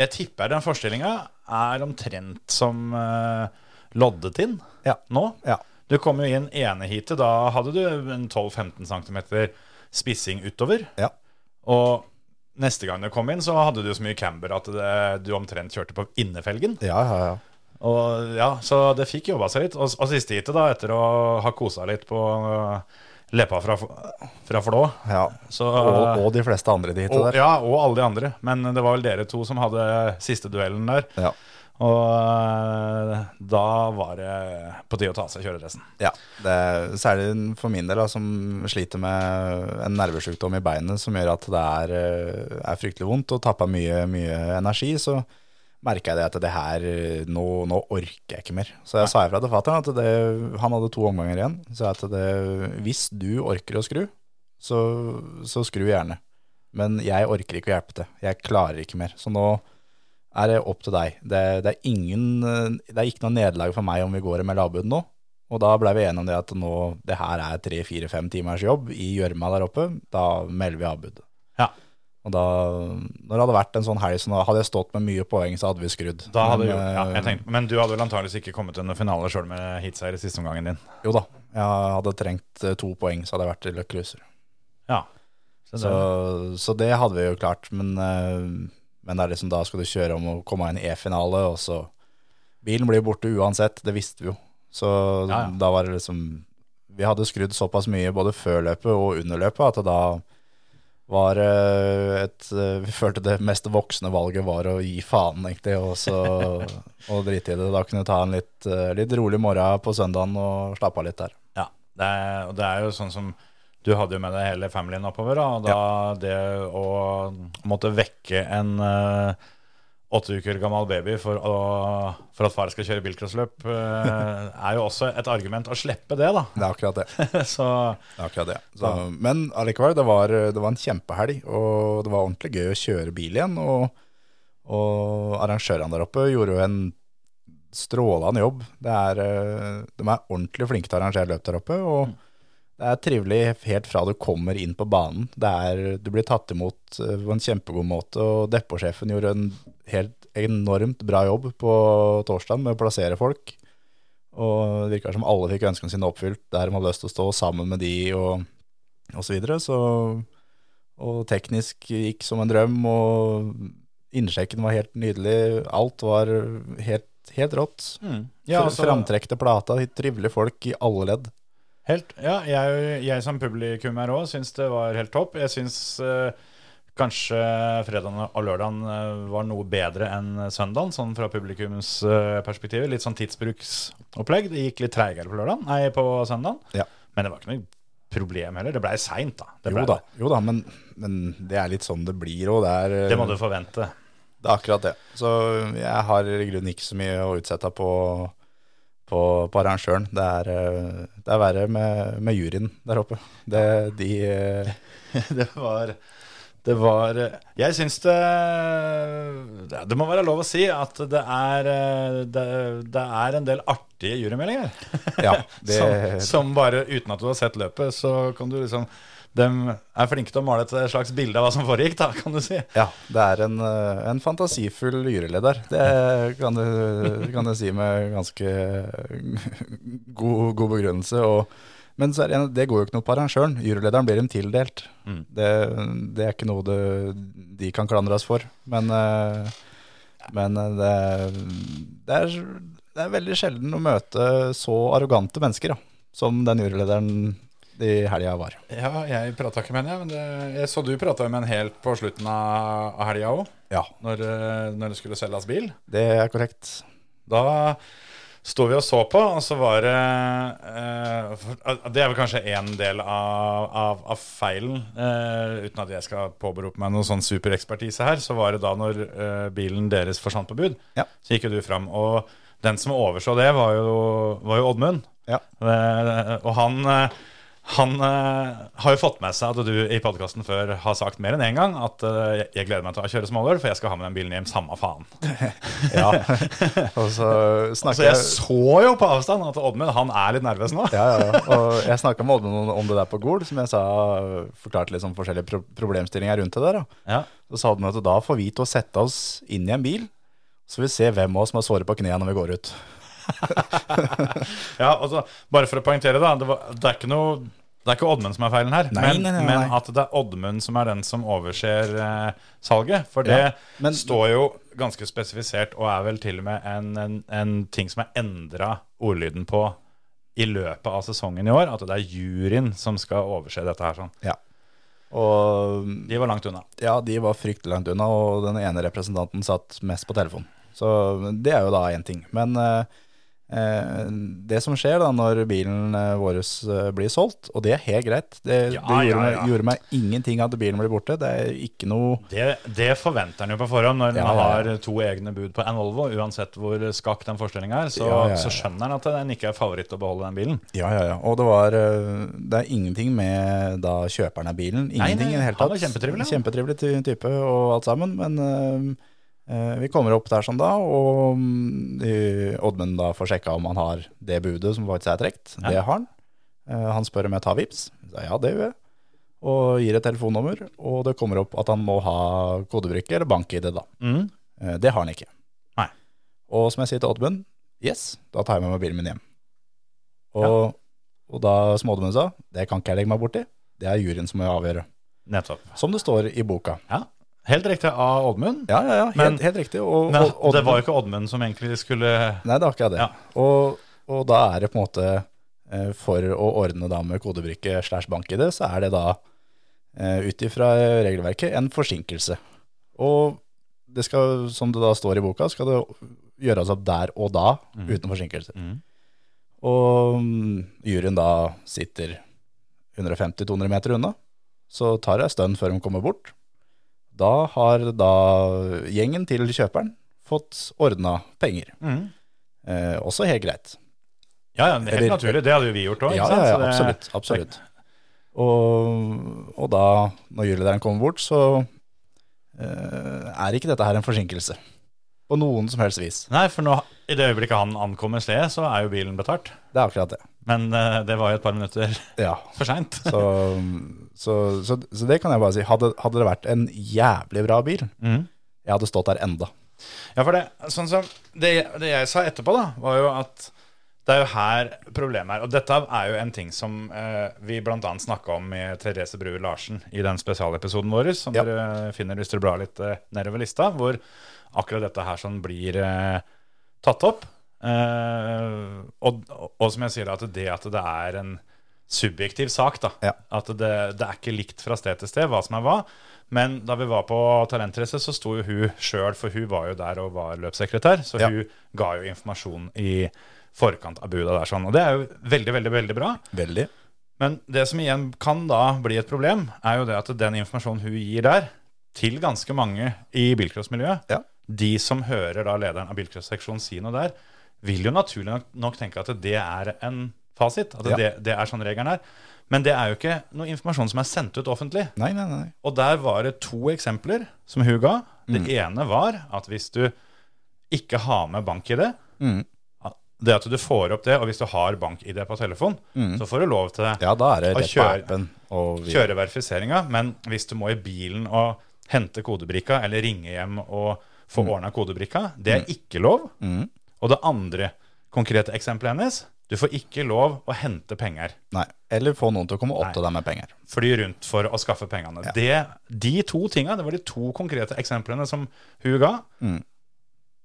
Jeg tipper den forestillinga er omtrent som eh, Loddetinn Ja. nå. ja. Du kom jo inn eneheatet. Da hadde du en 12-15 cm spissing utover. ja. Og neste gang du kom inn, så hadde du så mye camber at det, du omtrent kjørte på innefelgen. Ja, ja, ja. Og ja, Så det fikk jobba seg litt. Og, og siste heatet, da, etter å ha kosa litt på eh, leppa fra, fra Flå ja. så, Og, og de fleste andre de hitet og, der. ja, og alle de andre. Men det var vel dere to som hadde siste duellen der. Ja. Og eh, da var det på tide å ta av seg kjøredressen. Ja, det er særlig for min del da, som sliter med en nervesjukdom i beinet som gjør at det er, eh, er fryktelig vondt og tapper mye, mye energi, så merker jeg det at det her, eh, nå, nå orker jeg ikke mer. Så jeg sa ifra til fatteren at det, han hadde to omganger igjen, så jeg at det, hvis du orker å skru, så, så skru gjerne. Men jeg orker ikke å hjelpe til. Jeg klarer ikke mer. Så nå er det opp til deg. Det, det, er, ingen, eh, det er ikke noe nederlag for meg om vi går med lavbud nå. Og da ble vi enige om det at nå, det her er tre-fire-fem timers jobb i gjørma der oppe, da melder vi avbud. Ja. Og da, når det hadde vært en sånn helg, så nå hadde jeg stått med mye poeng, så hadde vi skrudd. Da hadde Men, du, ja, eh, jeg tenkte, men du hadde vel antakeligvis ikke kommet til noen finale sjøl med heatseier i siste omgangen din. Jo da, Jeg hadde trengt eh, to poeng, så hadde jeg vært i Løkke Cruiser. Ja. Så Så, det, så det hadde vi jo klart, men, eh, men det er liksom da skal du kjøre om og komme inn i E-finale, og så Bilen blir borte uansett, det visste vi jo. Så Ja, ja. da var det liksom Vi hadde skrudd såpass mye både før løpet og under løpet at det da var eh, et eh, Vi følte det mest voksne valget var å gi faen, egentlig, og så *laughs* og drite i det. Da kunne vi ta en litt, eh, litt rolig morgen på søndagen og slappe av litt der. ja. Det, er, og det er jo sånn som Du hadde jo med deg hele familien oppover, da, og da det å måtte vekke en eh, åtte uker gammel baby for, å, for at far skal kjøre bilcrossløp, eh, er jo også et argument å slippe det, da. *laughs* Det er akkurat det. Så Det er akkurat det. Så, men allikevel, det var, det var en kjempehelg, og det var ordentlig gøy å kjøre bil igjen. Og, og arrangørene der oppe gjorde jo en strålende jobb. Det er, eh, de er ordentlig flinke til å arrangere løp der oppe, og det er trivelig helt fra du kommer inn på banen. Det er, du blir tatt imot eh, på en kjempegod måte, og depotsjefen gjorde en helt enormt bra jobb på torsdagen med å plassere folk. Og det virker som alle fikk ønskene sine oppfylt, der de hadde lyst til å stå sammen med de og, og så videre. Så, og teknisk gikk som en drøm, og innsjekken var helt nydelig. Alt var helt, helt rått. ja, Fr- altså- Framtrekk til plata, trivelige folk i alle ledd. Helt, ja, jeg, jeg som publikummer òg syns det var helt topp. Jeg syns eh, kanskje fredagen og lørdagen eh, var noe bedre enn søndagen, sånn fra publikums eh, perspektiv. Litt sånn tidsbruksopplegg. Det gikk litt treigere på lørdagen, nei, på søndagen. Ja. Men det var ikke noe problem heller. Det blei seint, da. Det, Jo ble da, det. jo da men, men det er litt sånn det blir òg. Det, er- det må du *laughs* forvente. det er akkurat det. Så jeg har i grunnen ikke så mye å utsette på, på, på arrangøren. Det er, eh, det er verre med, med juryen der oppe. Det, de eh, det var det var Jeg syns det Det må være lov å si at det er eh, Det, det er en del artige jurymeldinger. Ja, det, som, som bare uten at du har sett løpet, så kan du liksom De er flinke til å male et slags bilde av hva som foregikk, da, kan du si. ja, det er en, eh, en fantasifull juryleder. Det kan du, kan du si med ganske god, god begrunnelse. Og, men så er det, en- det går jo ikke noe på arrangøren. Jurylederen blir dem tildelt. Det, det er ikke noe det, de kan klandres for. Men, eh, men eh, det, det, er, det er veldig sjelden å møte så arrogante mennesker da, som den jurylederen i helga var. Ja, jeg prata ikke med henne, jeg, men det, jeg så du prata med henne helt på slutten av av helga òg, Ja, når, eh, når det skulle selges bil. det er korrekt. Da sto vi og så på, og så var det eh, for- Det er vel kanskje én del av, av, av feilen, eh, uten at jeg skal påberope meg noen sånn superekspertise her, så var det da når eh, bilen deres forsvant på bud, Ja. så gikk jo du fram. Og den som overså det, var jo, var jo Oddmund. Ja. Eh, og han eh, han eh, har jo fått med seg at du i podkasten før har sagt mer enn én gang at eh, jeg- jeg gleder meg til å kjøre småløl, for jeg skal ha med den bilen hjem, samme faen. Ja, *laughs* og så Altså, snakker jeg jeg så jo på avstand at Oddmund han er litt nervøs nå. ja, ja, ja. Og jeg snakka med Oddmund om- om det der på Gol, som jeg sa forklarte litt sånn forskjellige pro problemstillinger rundt det der. Da. Ja. Så sa Oddmund at da får vi til å sette oss inn i en bil, så vi ser hvem av oss som har såret på knærne når vi går ut. Ja, altså, bare for å poengtere, da. Det, var, det er ikke noe det er ikke Oddmund som er feilen her, Nei, men, nei, nei, men nei. at det er Oddmund som er den som overser eh, salget. For det Ja, men- står jo ganske spesifisert, og er vel til og med en, en, en ting som er endra ordlyden på i løpet av sesongen i år. At det er juryen som skal overse dette her. sånn. Ja. Og De var langt unna. ja, de var fryktelig langt unna, og den ene representanten satt mest på telefon. Så det er jo da én ting. Men eh, eh, det som skjer da når bilen eh, vår eh, blir solgt, og det er helt greit Det, det Ja, gjorde, ja, meg- ja. gjorde meg ingenting at bilen blir borte. Det er ikke noe Det, det forventer han jo på forhånd når Ja, han ja, ja. har to egne bud på en Volvo. Uansett hvor skakk den forestillinga er, så, Ja, ja, ja. så skjønner han at den ikke er favoritt å beholde den bilen. Ja, ja, ja. Og det var eh, Det er ingenting med da kjøperen av bilen. Nei, Ingenting nei, i det hele han tatt. var kjempetrivelig, han. Kjempetrivelig ty- type og alt sammen. Men eh, eh, vi kommer opp der som da, og mm, eh, Oddmund da får sjekka om han har det budet som faktisk er trukket. Ja. Det har han. Eh, han spør om jeg tar VIPs. Jeg sa ja, det gjør jeg. Og gir et telefonnummer, og det kommer opp at han må ha kodebrikke eller bank-ID, da. Mm. Eh, Det har han ikke. Nei. Og som jeg sier til Oddmund, yes, da tar jeg med meg bilen min hjem. Og Og da smådommen sa det kan ikke jeg legge meg borti. Det er juryen som må avgjøre. Nettopp. Som det står i boka. Ja. Helt riktig av Oddmund. Ja, ja, ja. Helt, Men- helt riktig. Og, Men og, og, det var jo ikke Oddmund som egentlig skulle Nei, det er akkurat det. Ja. Og, og da er det på en måte eh, For å ordne da med kodebrikke slash bank-ID, så er det da eh, ut ifra regelverket en forsinkelse. Og det skal, som det da står i boka, skal det gjøres opp der og da uten forsinkelse. Mm. Og mm, juryen da sitter 150-200 meter unna, så tar det en stund før de kommer bort. Da har da gjengen til kjøperen fått ordna penger. Mm. Eh, også helt greit. Ja, ja, helt Eller- naturlig. Det hadde jo vi gjort òg. Ja, ja, ja absolutt. absolutt. Og, og da, når julelederen kommer bort, så eh, er ikke dette her en forsinkelse. På noen som helst vis. Nei, for nå, i det øyeblikket han ankommer stedet, så er jo bilen betalt. Det er akkurat det. Men eh, det var jo et par minutter *laughs* Ja. for seint. Så, *laughs* så, så, så det kan jeg bare si. Hadde, hadde det vært en jævlig bra bil, Mhm. jeg hadde stått der enda. Ja, for det, sånn som det, det jeg sa etterpå, da, var jo at det er jo her problemet er. Og dette er jo en ting som eh, vi bl.a. snakka om med Therese Brue Larsen i den spesialepisoden vår, som Ja. dere finner hvis dere blar litt eh, nedover lista, hvor akkurat dette her sånn blir eh, tatt opp. Eh, og, og som jeg sier, at det at det er en subjektiv sak, da. Ja. At det, det er ikke likt fra sted til sted hva som er hva. Men da vi var på Talentrace, så sto jo hun sjøl, for hun var jo der og var løpssekretær, så Ja. hun ga jo informasjon i forkant av buda der. sånn. Og det er jo veldig, veldig, veldig bra. Veldig. Men det som igjen kan da bli et problem, er jo det at den informasjonen hun gir der, til ganske mange i bilcrossmiljøet, Ja. de som hører da lederen av bilcrossseksjonen si noe der, vil jo naturlig nok, nok tenke at det er en fasit. At Ja. det, det er sånn regelen er. Men det er jo ikke noe informasjon som er sendt ut offentlig. Nei, nei, nei. Og der var det to eksempler som hun ga. Det Mm. ene var at hvis du ikke har med bank-ID, Mm. det at du får opp det, og hvis du har bank-ID på telefon, så får du lov til Mm. Ja, da er det Og rett på kjøre- appen. Og vi, kjøre verifiseringa, men hvis du må i bilen og hente kodebrikka, eller ringe hjem og få Mm. ordna kodebrikka, det er ikke lov. Og det andre konkrete eksempelet hennes, du får ikke lov å hente penger. Nei. Eller få noen til å komme opp Nei. til deg med penger. Fly rundt for å skaffe pengene. Det, de to tinga, det var de to konkrete eksemplene som hun ga. Mm.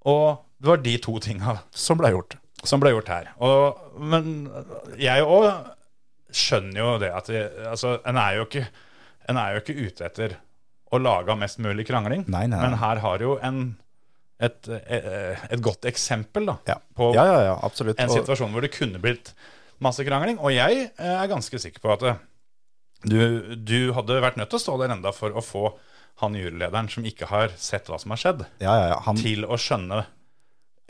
Og det var de to tinga Som ble gjort. som ble gjort her. Og, men jeg òg skjønner jo det at det, altså, en, er jo ikke, en er jo ikke ute etter å lage mest mulig krangling, Nei, nei, nei. men her har jo en et, eh, et godt eksempel da, Ja, på ja, ja, ja absolutt. en Og- situasjon hvor det kunne blitt masse krangling. Og jeg eh, er ganske sikker på at eh, du, du hadde vært nødt til å stå der enda for å få han jurylederen som ikke har sett hva som har skjedd, Ja, ja, ja. Han, til å skjønne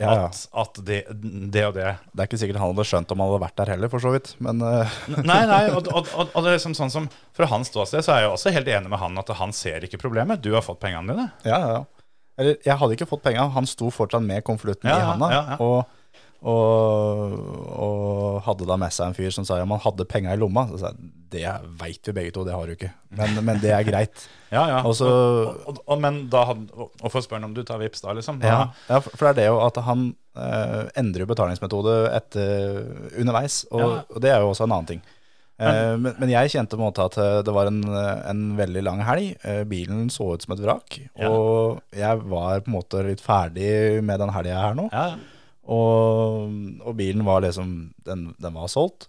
Mm. ja, ja. at, at det, det og det Det er ikke sikkert han hadde skjønt om han hadde vært der heller, for så vidt. Men eh, *laughs* Nei, nei, og, og, og, og det er liksom sånn som Fra hans ståsted så er jeg også helt enig med han at han ser ikke problemet. Du har fått pengene dine. *laughs* ja, ja, ja. Eller, jeg hadde ikke fått penga. Han sto fortsatt med konvolutten Ja, i ja, handa. ja, ja. Og, og, og hadde da med seg en fyr som sa ja, man hadde penga i lomma. Så sa jeg det veit vi begge to, det har du ikke. Men, men det er greit. *laughs* Ja, ja. Og så- og, og, og, men da hadde, og, og for å spørre om du tar vips da, liksom. Da, Ja, ja, for for det er det jo at han eh, endrer jo betalingsmetode etter, underveis, og, Ja. og det er jo også en annen ting. Eh, men, men jeg kjente på en måte at eh, det var en, eh, en veldig lang helg. Eh, bilen så ut som et vrak, Ja. og jeg var på en måte litt ferdig med den helga her nå. Ja, Og, og bilen var liksom Den, den var solgt.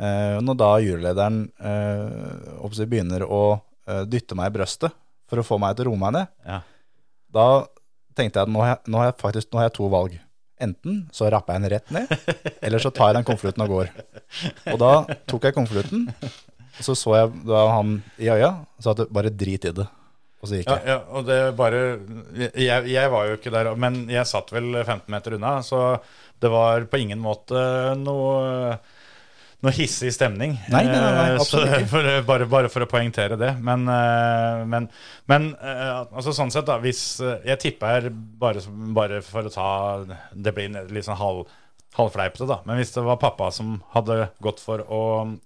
Eh, når da jurylederen eh, håper jeg å si, begynner å eh, dytte meg i brøstet for å få meg til å roe meg ned, ja. da tenkte jeg at nå har jeg, nå har jeg faktisk nå har jeg to valg. Enten så rapper jeg den rett *laughs* ned, eller så tar jeg den konvolutten og går. Og da tok jeg konvolutten, og så så jeg da han i øya, og sa at bare drit i det. Og så gikk Ja, jeg. ja, og det bare jeg, jeg var jo ikke der, men jeg satt vel 15 meter unna, så det var på ingen måte noe noe hissig stemning. Nei, nei, nei, nei, Eh, så- absolutt ikke. For, bare, bare for å poengtere det. Men, eh, men, men eh, altså sånn sett, da, hvis eh, Jeg tipper, bare, bare for å ta Det blir en litt sånn halv, halvfleipete, da. Men hvis det var pappa som hadde gått for å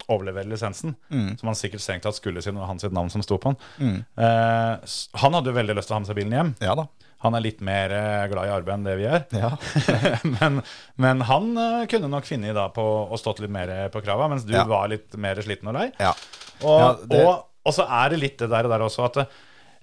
overlevere lisensen, Mm. som han sikkert strengt tatt skulle siden det var hans sitt navn som sto på den eh, s- Han hadde jo veldig lyst til å ha med seg bilen hjem. Ja da. Han er litt mer eh, glad i arbeid enn det vi er. Ja. *laughs* men, men han eh, kunne nok funnet da på å stått litt mer på krava, mens du Ja. var litt mer sliten og lei. Ja. Og, Ja, det- og, og så er det litt det der og der også, at eh,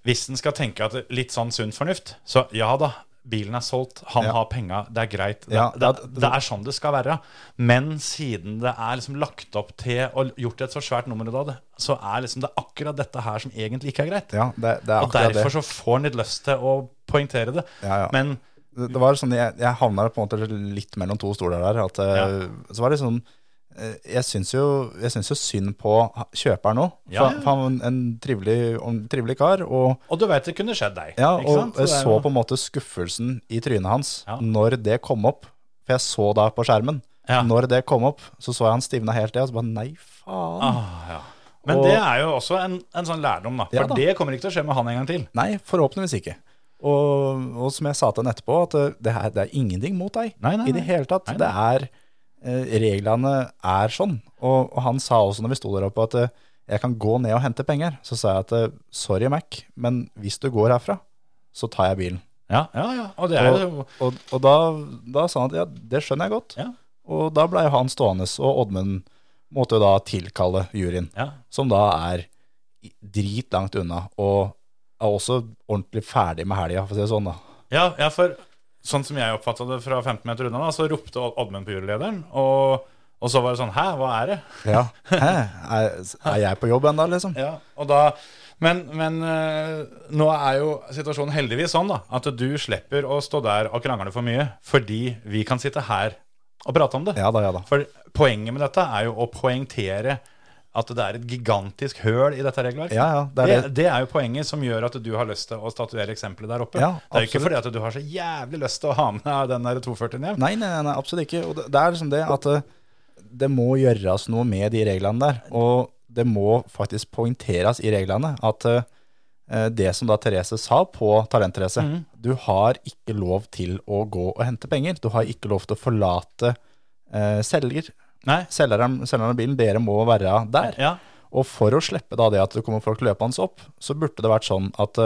hvis en skal tenke at litt sånn sunn fornuft, så ja da, bilen er solgt, han Ja. har penga, det er greit. Det, Ja, det, det- det er sånn det skal være. Men siden det er liksom lagt opp til og gjort et så svært nummer ut av det, så er liksom det akkurat dette her som egentlig ikke er greit. ja det, det er Og akkurat det. derfor så får en litt lyst til å poengtere det. Ja, ja. Men det det var sånn, jeg, jeg havna på en måte litt mellom to stoler der. At, eh, Så var det sånn eh, Jeg syns jo, jeg syns jo synd på ha- kjøperen òg. Ja, ja. For han var en, en trivelig, en trivelig kar. Og, Og du veit det kunne skjedd deg. ja, ikke sant? og det jeg er så jo- på en måte skuffelsen i trynet hans Ja. når det kom opp. For jeg så da på skjermen. Ja. Når det kom opp, så så jeg han stivna helt det. Og så bare nei, faen. ah, ja. Men Og- det er jo også en, en sånn lærdom, da. For Ja da. det kommer ikke til å skje med han en gang til. Nei, forhåpentligvis ikke. Og, og som jeg sa til henne etterpå, at eh, det, her, det er ingenting mot deg Nei, nei, i det nei. hele tatt. Nei, Det er, eh, reglene er sånn. Og, og han sa også når vi sto der oppe at eh, jeg kan gå ned og hente penger. Så sa jeg at eh, sorry Mac, men hvis du går herfra, så tar jeg bilen. Ja, ja, ja. Og det er liksom- Og, jo og, og da, da sa han at ja, det skjønner jeg godt. Ja. Og da blei han stående, og Oddmund måtte jo da tilkalle juryen ja. som da er i- dritlangt unna, og er også ordentlig ferdig med helga, for å si det sånn. da. Ja, ja, for sånn som jeg oppfatta det fra 15 meter unna, da, så ropte Odd- Oddmund på jurylederen. Og, og så var det sånn Hæ, hva er det? *laughs* Hæ? Er, er jeg på jobb ennå, liksom? *laughs* Ja, og da men, men eh, nå er jo situasjonen heldigvis sånn da at du slipper å stå der og krangle for mye, fordi vi kan sitte her og prate om det. Ja da, ja da. For poenget med dette er jo å poengtere at det er et gigantisk høl i dette regelverket. Ja, ja, det det, er det. det. er jo poenget som gjør at du har lyst til å statuere eksempelet der oppe. Ja, det er jo ikke absolutt. fordi at du har så jævlig lyst til å ha med den der 240-en hjem. Nei, nei, nei, nei, absolutt ikke. Og det, det er liksom det at eh, det må gjøres noe med de reglene der. Og det må faktisk poengteres i reglene at eh, det som da Therese sa på Talent-Therese Du har ikke lov til å gå og hente penger. Du har ikke lov til å forlate eh, selger. Nei. selgeren, selgeren av bilen, dere må være der. Ja. Og for å slippe da det at det kommer folk løpende opp, så burde det vært sånn at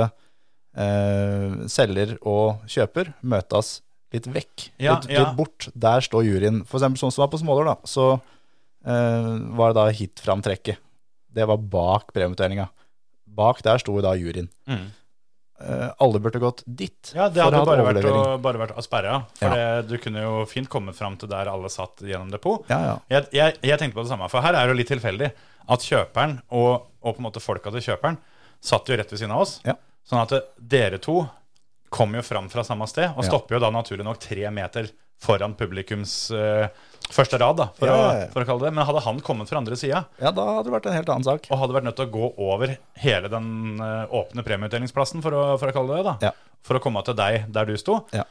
eh, selger og kjøper møtes litt vekk, Ja, litt, ja. litt bort. Der står juryen. For eksempel sånn som var på Smålår, da, så eh, var det da hitframtrekket. Det var bak premieutdelinga. Bak der sto da juryen. Mm. Eh, alle burde gått dit Ja, det hadde å ha bare vært, å, overlevering. bare vært å sperre, ja. For Ja. det, du kunne jo fint komme fram til der alle satt gjennom depot. Ja, ja. Jeg, jeg, jeg tenkte på det samme, for her er det jo litt tilfeldig at kjøperen og, og på en måte folka til kjøperen satt jo rett ved siden av oss. Ja. Sånn at dere to kom jo fram fra samme sted, og Ja. stopper jo da naturlig nok tre meter foran publikums eh, første rad, da, for, Ja, ja, ja. Å, for å kalle det det. Men hadde han kommet fra andre sida, ja, da hadde det vært en helt annen sak. og hadde vært nødt til å gå over hele den eh, åpne premieutdelingsplassen, for å, for å kalle det det, da, Ja. for å komme til deg der du sto, Ja.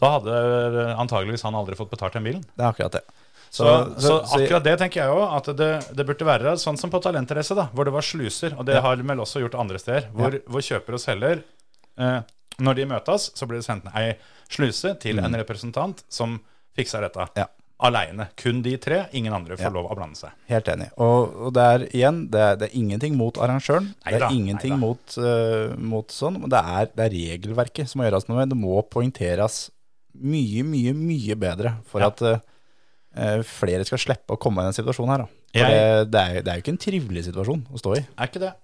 da hadde eh, antageligvis han aldri fått betalt den bilen. Det er akkurat det. Så, så, akkurat det tenker jeg òg, at det, det burde være sånn som på Talentrace, da, hvor det var sluser. Og det Ja. har de vel også gjort andre steder, hvor, hvor kjøper og selger eh, Når de møtes, så blir det sendt ei sluse til en representant som fikser dette. Mm. Ja. Aleine. Kun de tre. Ingen andre får Ja. lov å blande seg. Helt enig. Og, og det er igjen, det er, det er ingenting mot arrangøren. det Neida, er ingenting neida. mot, eh, mot sånn, men det er, det er regelverket som må gjøres noe med. Det må poengteres mye, mye, mye bedre for Ja. at eh, flere skal slippe å komme i den situasjonen her. Da. For Jeg- det, det, er, jo- det er jo ikke en trivelig situasjon å stå i. Er ikke det.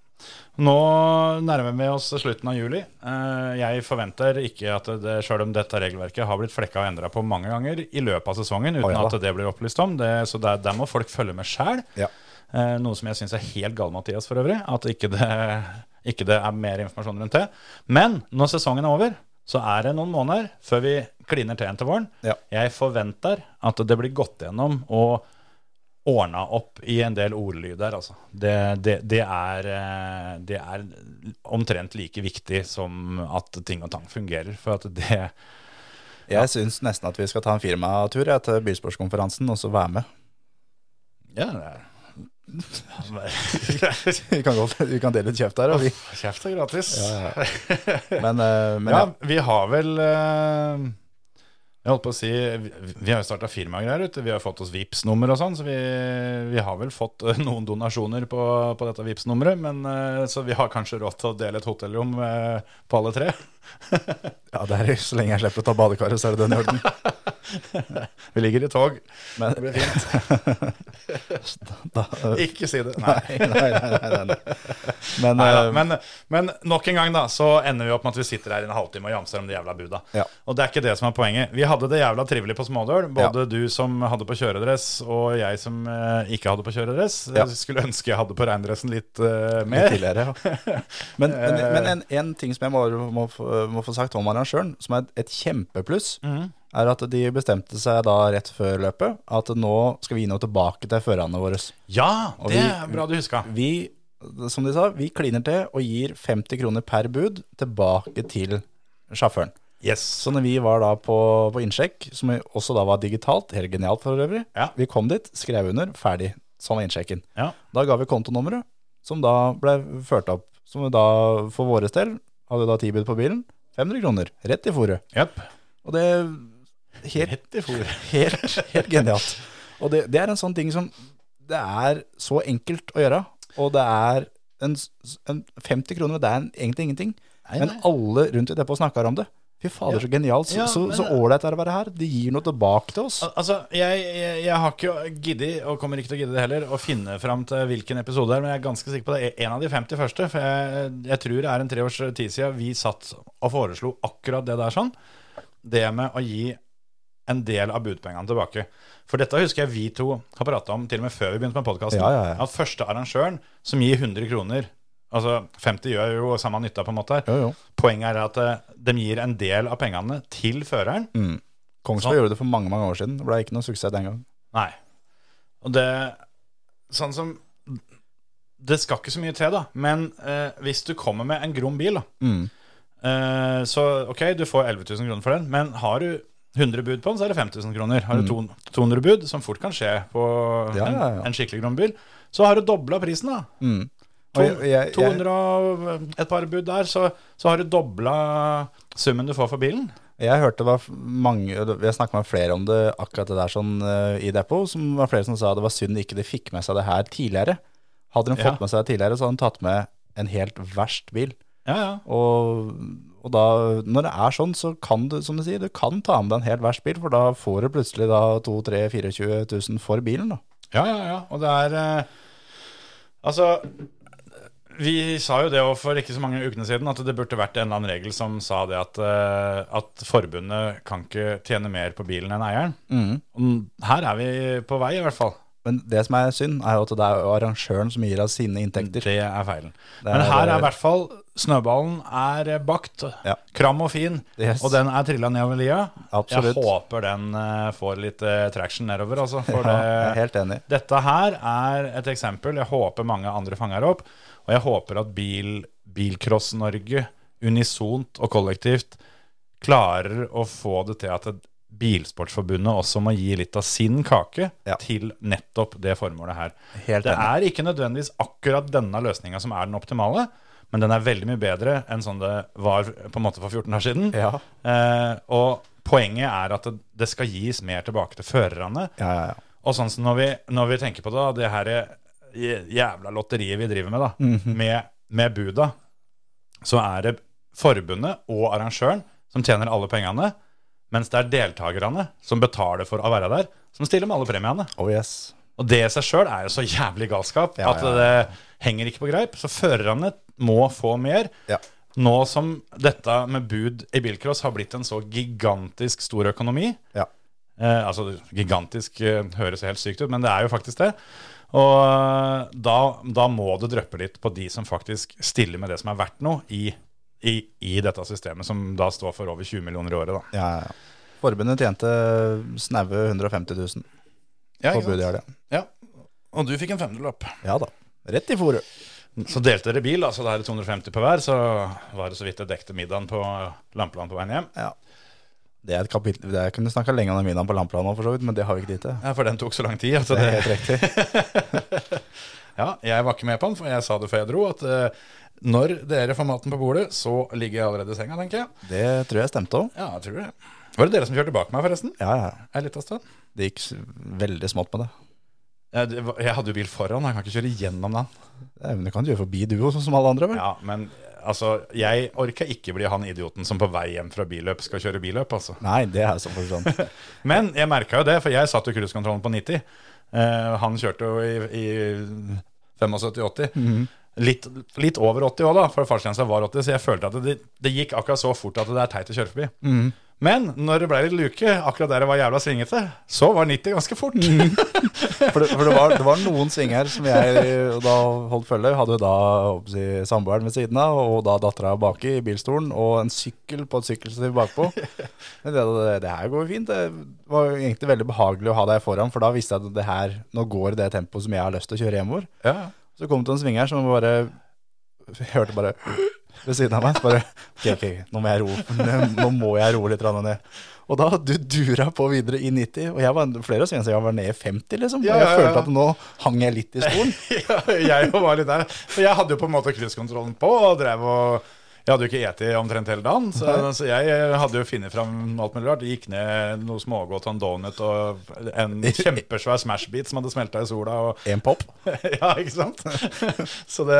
Nå nærmer vi oss slutten av juli. Eh, Jeg forventer ikke at det, selv om dette regelverket har blitt flekka og endra på mange ganger i løpet av sesongen, uten Å, ja da. at det blir opplyst om, det, så der, der må folk følge med sjæl. Ja. Eh, Noe som jeg syns er helt gal, Mathias, for øvrig. At ikke det, ikke det er mer informasjon rundt det. Men når sesongen er over, så er det noen måneder før vi kliner til igjen til våren. Ja. Jeg forventer at det blir gått gjennom og ordna opp i en del ordlyder, altså. Det, det, det, er, eh, det er omtrent like viktig som at ting og tang fungerer. For at det Jeg syns nesten at vi skal ta en firmatur jeg, til bilsportskonferansen og så være med. Ja, det er *laughs* Vi kan, godt, vi kan dele litt kjeft der. Og vi. Kjeft er gratis. Men, eh, men ja, ja. vi har vel eh, Jeg holdt på å si, vi, vi har jo starta firmagreier ute. Vi har jo fått oss vips nummer og sånn, så vi, vi har vel fått eh, noen donasjoner på, på dette vips nummeret men eh, Så vi har kanskje råd til å dele et hotellrom eh, på alle tre. Ja, det er, Så lenge jeg slipper å ta badekaret, så er det den i orden. Vi ligger i tog. Men, Det blir fint. *laughs* da, Ikke si det. Nei. nei, nei, nei, nei, nei. Men, Neida, eh, men, men nok en gang da, så ender vi opp med at vi sitter her i en halvtime og jamser om de jævla buda. Ja. Og det er ikke det som er poenget. Vi hadde det jævla trivelig på Smådøl. Både du som hadde på kjøredress, og jeg som eh, ikke hadde på kjøredress. Ja. Jeg skulle ønske jeg hadde på regndressen litt eh, Litt mer. Eh. tidligere, ja. Men, men, men en, en ting som jeg må, må, få- må få sagt om arrangøren, som er et, et kjempepluss, Mhm. er at de bestemte seg da rett før løpet at nå skal vi nå tilbake til førerne våre. Ja, Og det vi- er bra du huska. Vi, som de sa, vi kliner til og gir 50 kroner per bud tilbake til sjåføren. Yes. Så når vi var da på, på innsjekk, som vi også da var digitalt, helt genialt for øvrig, Ja. vi kom dit, skrev under, ferdig. Sånn var innsjekken. Ja. Da ga vi kontonummeret, som da ble ført opp. Som da, for våres del, hadde da tilbud på bilen. 500 kroner, rett i fôret. Jepp. Og det helt, Rett i fôret. *laughs* helt, helt genialt. Og det, det er en sånn ting som det er så enkelt å gjøre, og det er en, s- en 50 kroner, det er en, egentlig ingenting. Men alle rundt i depot snakker om det. Fy fader, så genialt. Så Ja, så- men- så ålreit er det å være her. De gir noe tilbake til oss. Al- Altså, jeg, jeg, jeg har ikke giddet, og kommer ikke til å gidde det heller, å finne fram til hvilken episode det er, men jeg er ganske sikker på det. er En av de 50 første, for jeg, jeg tror det er en tre års tid siden vi satt og foreslo akkurat det der sånn. Det med å gi en del av budpengene tilbake. For dette husker jeg vi to har prata om til og med før vi begynte med podkasten. Ja, ja, ja. At første arrangøren som gir 100 kroner Altså 50 gjør jo samme nytta, på en måte. her. Jo, jo. Poenget er at eh, de gir en del av pengene til føreren. Mm. Sånn. Kongsberg gjorde det for mange mange år siden. Det ble ikke noe suksess den gang. Nei. Og det Sånn som Det skal ikke så mye til, da. Men eh, hvis du kommer med en grom bil, da. Mm. Eh, så ok, du får 11 000 kroner for den. Men har du 100 bud på den, så er det 5000 kroner. Har du to- 200 bud, som fort kan skje på Mm. Ja, en, ja, Mm. ja. en skikkelig grom bil, så har du dobla prisen, da. Og jeg- jeg- jeg- 200 og et par bud der, så, så har du dobla summen du får for bilen. Jeg hørte det var mange Jeg snakket med flere om det akkurat det der sånn eh, i Depo, som var flere som sa det var synd ikke de fikk med seg det her tidligere. Hadde de fått Ja. med seg det tidligere, så hadde de tatt med en helt verst bil. Ja, ja. Og, og da, når det er sånn, så kan du, som du sier, du kan ta med deg en helt verst bil, for da får du plutselig da 2 3 24 000 for bilen, da. Ja, ja, ja. Og det er eh, Altså vi sa jo det også for ikke så mange ukene siden, at det burde vært en eller annen regel som sa det at, eh, at forbundet kan ikke tjene mer på bilen enn eieren. Mm. Og Her er vi på vei, i hvert fall. Men det som er synd, er jo at det er jo arrangøren som gir av sine inntekter. Det er feilen. Det Men er- her er i hvert fall snøballen er bakt. Ja. Kram og fin. Yes. Og den er trilla nedover lia. Absolutt. Jeg håper den eh, får litt eh, traction nedover, altså. For Ja, jeg er det, helt enig. dette her er et eksempel. Jeg håper mange andre fanger opp. Og jeg håper at bil, Bilcross Norge unisont og kollektivt klarer å få det til at Bilsportsforbundet også må gi litt av sin kake Ja. til nettopp det formålet her. Helt Det enig. er ikke nødvendigvis akkurat denne løsninga som er den optimale, men den er veldig mye bedre enn sånn det var på en måte for 14 år siden. Ja. Eh, og poenget er at det, det skal gis mer tilbake til førerne. Ja, ja, ja. Og sånn som når vi, når vi tenker på det, da, det her jæ- jævla lotteriet vi driver med, da, Mhm. med, med buda, så er det forbundet og arrangøren som tjener alle pengene, mens det er deltakerne som betaler for å være der, som stiller med alle premiene. Oh yes. Og det i seg sjøl er jo så jævlig galskap Ja, at ja, det henger ikke på greip. Så førerne må få mer. Ja. Nå som dette med bud i bilcross har blitt en så gigantisk stor økonomi, Ja. Eh, altså gigantisk eh, høres helt sykt ut, men det er jo faktisk det. Og eh, da, da må det dryppe litt på de som faktisk stiller med det som er verdt noe i, i, i dette systemet, som da står for over 20 millioner i året, da. Ja, ja, ja. Forbundet tjente snaue 150 000 på budet i helga. Ja. Og du fikk en femdelapp. Ja da. Rett i fòret. Så delte dere bil, altså det er 250 på hver, så var det så vidt det dekte middagen på eh, Lampeland på veien hjem. Ja. Det er et kapittel det, Jeg kunne snakka lenge om middagen på Lampland nå, for så vidt, men det har vi ikke tid til. Ja, For den tok så lang tid. Altså Det det, er helt riktig. *laughs* ja, jeg var ikke med på den, for jeg sa det før jeg dro, at eh, når dere får maten på bordet, så ligger jeg allerede i senga, tenker jeg. Det tror jeg stemte òg. Ja, jeg tror det. Var det dere som kjørte bak meg, forresten? Ja, ja. En liten stund? Det gikk s- veldig smått med det. Jeg, det var- jeg hadde jo bil foran, jeg kan ikke kjøre gjennom den. Nei, Men du kan kjøre forbi du også, som alle andre, vel? Ja, men altså, jeg orker ikke bli han idioten som på vei hjem fra billøp skal kjøre billøp, altså. Nei, det er så forstått. Men jeg merka jo det, for jeg satt jo cruisekontrollen på 90. Eh, han kjørte jo i, i 75-80. litt, litt over 80 òg, da, for fartsgrensa var 80, så jeg følte at det, det gikk akkurat så fort at det er teit å kjøre forbi. Men når det ble litt luke, akkurat der det var jævla svingete, så var 90 ganske fort. For, det, for det, var, det var noen svinger som jeg og da holdt følge. Hadde jo da håper jeg å si, samboeren ved siden av, og da dattera baki i bilstolen, og en sykkel på et sykkelstativ bakpå. Men det, det, det her går jo fint. Det var jo egentlig veldig behagelig å ha deg foran, for da visste jeg at det her, nå går det tempoet som jeg har lyst til å kjøre hjemover. *laughs* Ja. Så kom det en sving her som bare Jeg hørte bare ved siden av meg. Så bare OK, ok, nå må jeg roe Nå må jeg roe litt grann ned. Og da du dura på videre i 90, og jeg var flere svinger, så jeg var ned i 50, liksom. Og Ja, jeg ja, ja. følte at nå hang jeg litt i stolen. *laughs* ja, jeg jo var litt der. For jeg hadde jo på en måte krysskontrollen på og drev og Jeg hadde jo ikke eti omtrent hele dagen, så, så jeg hadde jo funnet fram alt mulig rart. Jeg Gikk ned noe smågodt og en donut og en kjempesvær Smashbit som hadde smelta i sola. Og, En pop. *laughs* ja, ikke sant? Så det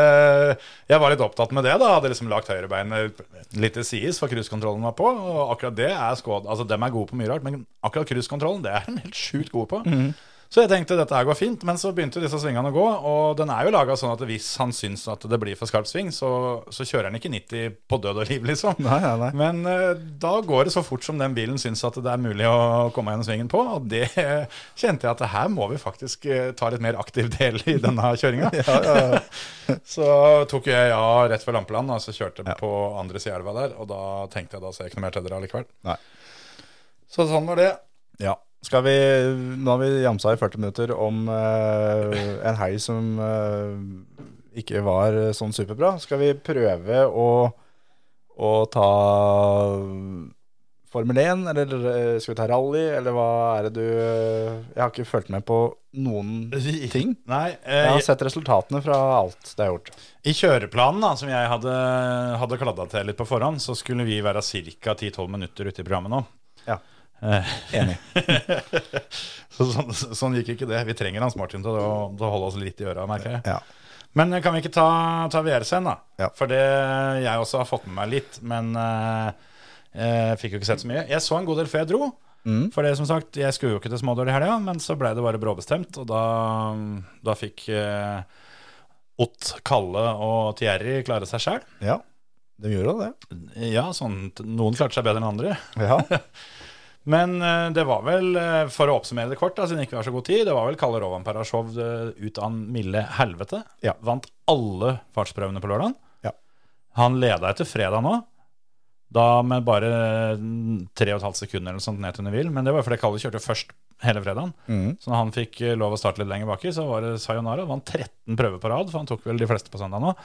Jeg var litt opptatt med det, da. Hadde liksom lagt høyrebeinet litt til sides, for cruisekontrollen var på. Og akkurat det er skåd... Altså, dem er gode på mye rart, men akkurat cruisekontrollen, det er de helt sjukt gode på. Mhm. Så jeg tenkte dette her går fint, men så begynte disse svingene å gå. Og den er jo laga sånn at hvis han syns at det blir for skarp sving, så, så kjører han ikke 90 på død og liv, liksom. Nei, nei, nei. Men eh, da går det så fort som den bilen syns at det er mulig å komme gjennom svingen på. Og det *laughs* eh, kjente jeg at her må vi faktisk eh, ta litt mer aktiv del i denne kjøringa. *laughs* så tok jeg ja rett ved Lampeland, og så kjørte jeg på andre sida av elva der. Og da tenkte jeg da ser jeg ikke noe mer til dere allikevel. Nei. Så sånn var det. Ja. Skal vi, nå har vi jamsa i 40 minutter om eh, en helg som eh, ikke var sånn superbra. Skal vi prøve å, å ta Formel 1, eller eh, skal vi ta rally, eller *laughs* hva er det du eh, Jeg har ikke fulgt med på noen ting. altså. Nei, Jeg eh, har sett resultatene fra alt det er gjort. I kjøreplanen da, som jeg hadde, hadde kladda til litt på forhånd, så skulle vi være ca. 10-12 minutter ute i programmet nå. Ja. Eh, *laughs* Enig. så sånn, sånn gikk ikke det. Vi trenger Hans Martin til å, til å holde oss litt i øra, merker jeg. Ja. Men eh, kan vi ikke ta, ta VRC-en, da? Ja. For det jeg også har fått med meg litt, men eh, eh, fikk jo ikke sett så mye. Jeg så en god del før jeg dro. Mm, For det som sagt, jeg skulle jo ikke til Smådøl i helga, men så ble det bare bråbestemt, og da, da fikk eh, Ott, Kalle og Thierry klare seg sjæl. ja. De gjorde jo det. Ja, sånn, noen klarte seg bedre enn andre. Ja. Men eh, det var vel, eh, for å oppsummere det kort, da, siden det ikke var så god tid, det var vel Kalle Rovan Parashov eh, ut av en milde helvete. Ja. Vant alle fartsprøvene på lørdagen. Ja. Han leda etter fredag nå, da med bare eh, tre og et halvt sekund eller noe sånt ned til Neville. Men det var fordi Kalle kjørte først hele fredagen. Mhm. Så når han fikk eh, lov å starte litt lenger baki, så var det sayonara. Vant 13 prøver på rad, for han tok vel de fleste på søndag nå.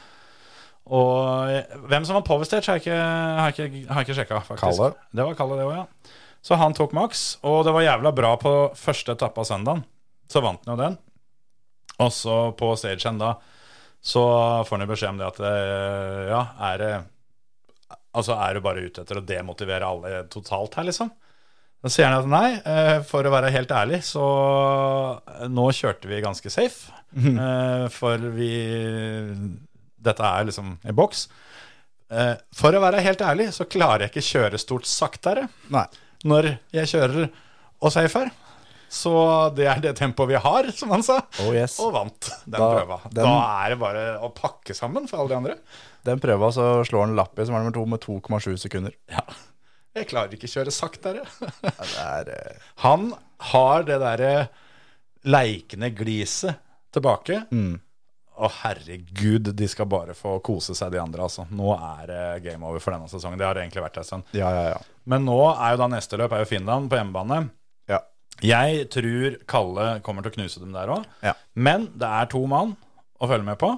Og eh, hvem som var påvistert, har jeg ikke, har jeg ikke, har jeg ikke sjekka, faktisk. Kalle. Det var Kalle, det òg, ja. Så han tok maks, og det var jævla bra på første etappe av søndagen. Så vant han jo den. Og så på stagehen da, så får han jo beskjed om det at eh, ja, er det Altså er du bare ute etter å demotivere alle totalt her, liksom? Da sier han at nei, eh, for å være helt ærlig, så eh, nå kjørte vi ganske safe. Mhm. eh, For vi Dette er liksom en boks. Eh, For å være helt ærlig, så klarer jeg ikke kjøre stort saktere Nei. når jeg kjører og safer. Så det er det tempoet vi har, som han sa. Oh yes. Og vant den Da- prøva. den- Da er det bare å pakke sammen for alle de andre. Den prøva så slår han Lappi, som er nummer to, med 2,7 sekunder. Ja. Jeg klarer ikke kjøre saktere. Det er eh, *laughs* Han har det derre leikende gliset tilbake. Mm. Å, herregud, de skal bare få kose seg, de andre. altså. Nå er det game over for denne sesongen. Det har det egentlig vært en stund. Ja, ja, ja. Men nå er jo da neste løp er jo Finland på hjemmebane. Ja. Jeg tror Kalle kommer til å knuse dem der òg. Ja. Men det er to mann å følge med på.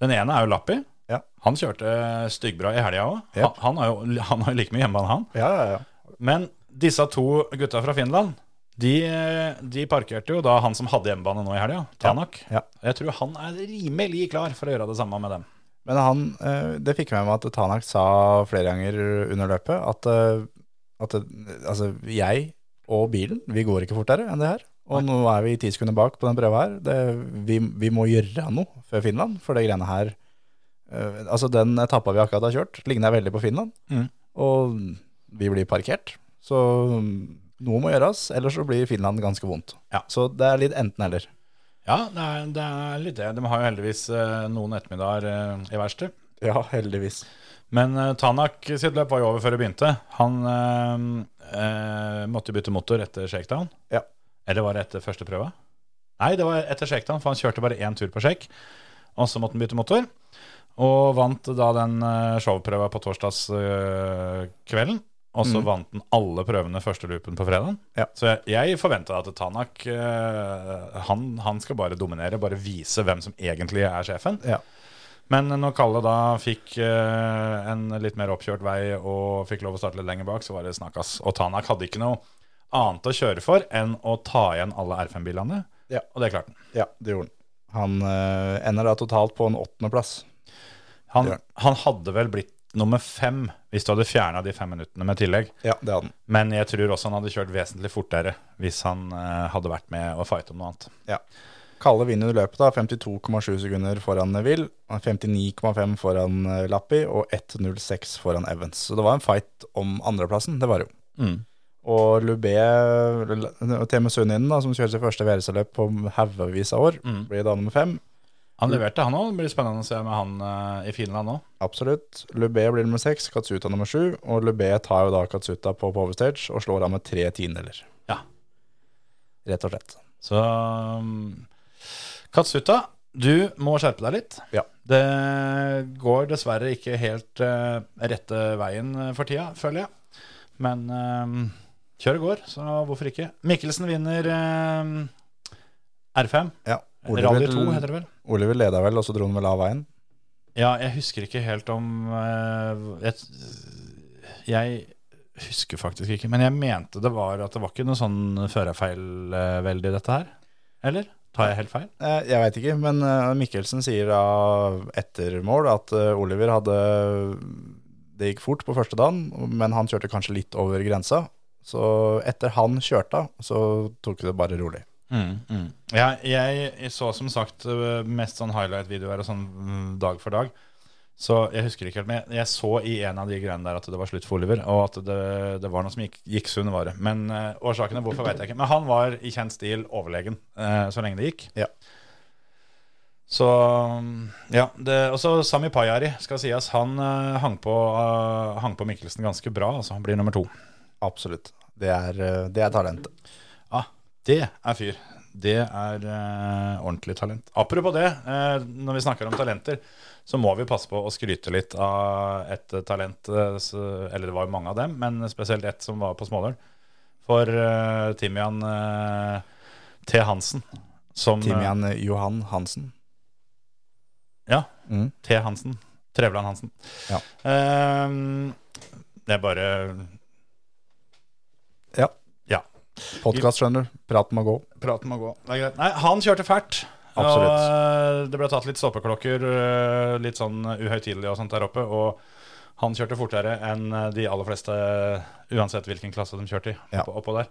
Den ene er jo Lappi. Ja. Han kjørte styggbra i helga òg. Ja. Han, han har jo han har jo like mye hjemmebane, han. Ja, ja, ja. Men disse to gutta fra Finland, de, de parkerte jo da han som hadde hjemmebane nå i helga, Tanak. Ja, ja. Jeg tror han er rimelig klar for å gjøre det samme med dem. Men han, eh, det fikk jeg med meg at Tanak sa flere ganger under løpet, at eh, at det, altså, jeg og bilen, vi går ikke fortere enn det her. Og nå er vi ti sekunder bak på den prøva her. Det, vi, vi må gjøre noe før Finland, for det greiene her eh, Altså, den etappa vi akkurat har kjørt, ligner veldig på Finland. Mm. Og vi blir parkert. Så mm, noe må gjøres, ellers så blir Finland ganske vondt. Ja. Så det er litt enten-eller. Ja, det er, det er litt det. De har jo heldigvis eh, noen ettermiddager eh, i verksted. Ja, heldigvis. Men eh, Tanak sitt løp var jo over før det begynte. Han eh, eh, måtte bytte motor etter shakedown. Ja. Eller var det etter første prøve? Nei, det var etter shakedown, for han kjørte bare én tur på shake. Og så måtte han bytte motor. Og vant da den eh, showprøva på torsdagskvelden. kvelden og så vant han alle prøvene første loopen på fredagen. Mhm. Ja. Så jeg, jeg forventa at Tanak eh, han, han skal bare dominere, bare vise hvem som egentlig er sjefen. Ja. Men når Kalle da fikk eh, en litt mer oppkjørt vei og fikk lov å starte litt lenger bak, så var det snakkas. Og Tanak hadde ikke noe annet å kjøre for enn å ta igjen alle R5-bilene. Ja. Og det klarte han. Ja, det gjorde han. Han eh, ender da totalt på en åttendeplass. Han, Det gjorde han hadde vel blitt nummer fem hvis du hadde fjerna de fem minuttene med tillegg. Ja, det hadde han. Men jeg tror også han hadde kjørt vesentlig fortere hvis han eh, hadde vært med og fighte om noe annet. Ja. Kalle vinner løpet da, 52,7 sekunder foran Neville, 59,5 foran eh, Lappi og 1,06 foran Evans. Så det var en fight om andreplassen, det var det jo. Mm. Og Lubé, og Teme Sundinen da, som kjører sitt første VRC-løp på haugevis av år, Mm. blir da nummer fem. Han leverte, han òg. Det blir spennende å se med han eh, i Finland nå. Absolutt. Lubé blir nummer seks, Katsuta nummer sju, og Lubé tar jo da Katsuta på powerstage og slår av med tre tiendeler, Ja. rett og slett. Så um, Katsuta, du må skjerpe deg litt. Ja. Det går dessverre ikke helt eh, rette veien eh, for tida, føler jeg. Men um, kjøret går, så hvorfor ikke? Mikkelsen vinner um, R5. Ja. Rally 2 heter det vel? Oliver leda vel, og så dro han vel av veien. Ja, jeg husker ikke helt om eh, jeg, jeg husker faktisk ikke, men jeg mente det var at det var ikke noe sånn førerfeil eh, veldig i dette her. Eller? Tar jeg helt feil? Eh, Jeg veit ikke, men eh, Mikkelsen sier da etter mål at eh, Oliver hadde Det gikk fort på første dagen, men han kjørte kanskje litt over grensa. Så etter han kjørte, så tok det bare rolig. Mm, mm. Ja, jeg så som sagt øh, mest sånn highlight-videoer og sånn mm, dag for dag. Så jeg husker ikke helt, men jeg, jeg så i en av de greiene der at det var slutt for Oliver, og at det, det var noe som gikk, gikk sunn vare. Men øh, årsakene hvorfor vet jeg ikke. Men han var i kjent stil overlegen øh, så lenge det gikk. Ja. Så mm, ja. Det, og så Sami Pajari, skal sies, han øh, hang, på, øh, hang på Mikkelsen ganske bra. Altså han blir nummer to. Absolutt. Det er, eh, det er talentet. Ja, det er fyr. Det er eh, ordentlig talent. Apropos det, eh, når vi snakker om talenter, så må vi passe på å skryte litt av et talent eh, s- Eller det var jo mange av dem, men spesielt ett som var på Småløren. For eh, Timian eh, T. Hansen. Som, Timian eh, Johan Hansen. Ja. Mm. T. Hansen. Trevland Hansen. Ja. Eh, det er bare Ja. Ja. Podkast, skjønner du. Praten må gå. Praten må gå. Det er greit. Nei, han kjørte fælt. Absolutt. Og eh, det ble tatt litt stoppeklokker, eh, litt sånn uhøytidelig og sånt der oppe. Og han kjørte fortere enn eh, de aller fleste, uansett hvilken klasse de kjørte i. Ja. Oppå, oppå der.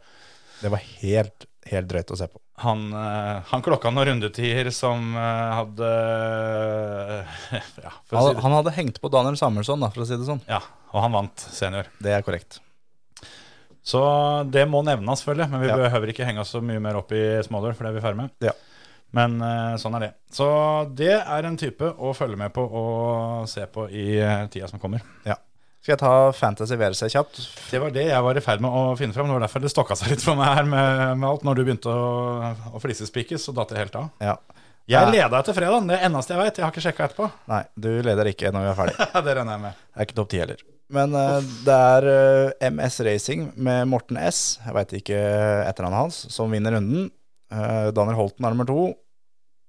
Det var helt, helt drøyt å se på. Han, eh, han klokka noen rundetider som eh, hadde *laughs* Ja, for å si Han, det. han hadde hengt på Daniel Samuelsson, da, for å si det sånn. Ja, og han vant senior. Det er korrekt. Så det må nevnes, selvfølgelig. Men vi Ja. behøver ikke henge oss så mye mer opp i smådør, for det er vi ferdig med. Ja. Men eh, sånn er det. Så det er en type å følge med på og se på i eh, tida som kommer. Ja. Skal jeg ta Fantasy VRC kjapt? Det var det jeg var i ferd med å finne fram. Det var derfor det stokka seg litt for meg her med, med alt. Når du begynte å, å flisespikes, så datt det helt av. Ja. Jeg Ja. leda etter fredagen, det er eneste jeg veit. Jeg har ikke sjekka etterpå. *laughs* Nei, du leder ikke når vi er ferdig. det regner jeg med. Det er ikke topp ti heller. Men eh, det er eh, MS Racing med Morten S, jeg veit ikke eh, etternavnet hans, som vinner runden. Eh, Daniel Holten er nummer to,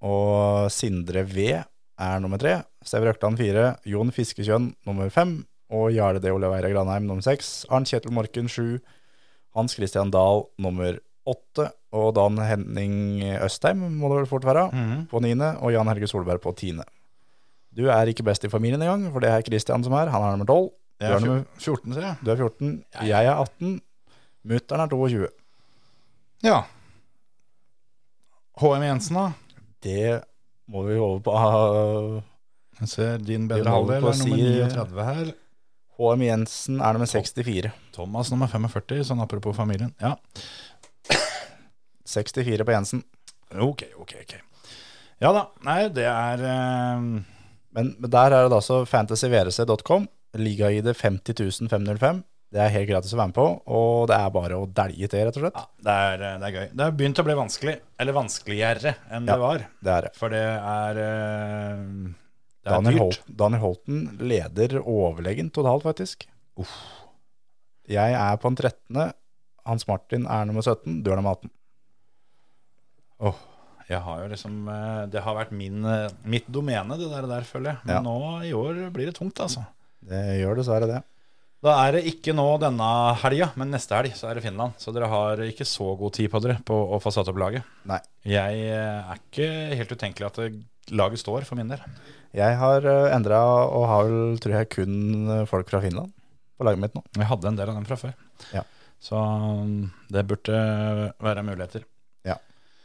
og Sindre V er nummer tre. Stever Økland fire, Jon Fiskekjønn nummer fem, og Jarle D. Oliveira Granheim nummer seks. Arnt Kjetil Morken sju, Hans Christian Dahl nummer åtte, og Dan Henning Østheim må det vel fort være, på niende, og Jan Helge Solberg på tiende. Du er ikke best i familien engang, for det er Christian som er. Han er nummer tolv. Jeg er Du er nummer- 14, sier jeg. Du er 14, jeg er 18, mutter'n er 22. Ja. HM Jensen, da? Det må vi over på ah, Jeg ser din Vi bedre må halvdel på er nummer si- 39 her. HM Jensen er nummer 64. Thomas nummer 45, sånn apropos familien. Ja, 64 på Jensen. ok, ok, ok. Ja da, nei, det er eh, Men, men der er det da altså fantasyvrc.com. Liga-ID 50505. Det er helt gratis å være med på, og det er bare å dælje til, rett og slett. det er, eh, det er gøy. Det har begynt å bli vanskelig, eller vanskeligere enn Ja. det var. Det er det. For det er eh, Det er Daniel, dyrt. Holt, Daniel Holten leder overlegen totalt, faktisk. Jeg er på den 13. Hans Martin er nummer 17, du er nummer 18. Åh, jeg har jo liksom eh, Det har vært min, eh, mitt domene, det der, der føler jeg. Men Ja. nå i år blir det tungt, altså. Det gjør dessverre det. Da er det ikke nå denne helga, men neste helg så er det Finland. Så dere har ikke så god tid på dere på å få satt opp laget. Nei. Jeg eh, er ikke helt utenkelig at det- laget står, for min del. Jeg har endra og har vel, tror jeg, kun eh, folk fra Finland på laget mitt nå. Jeg hadde en del av dem fra før. Ja. Så um, det burde være muligheter.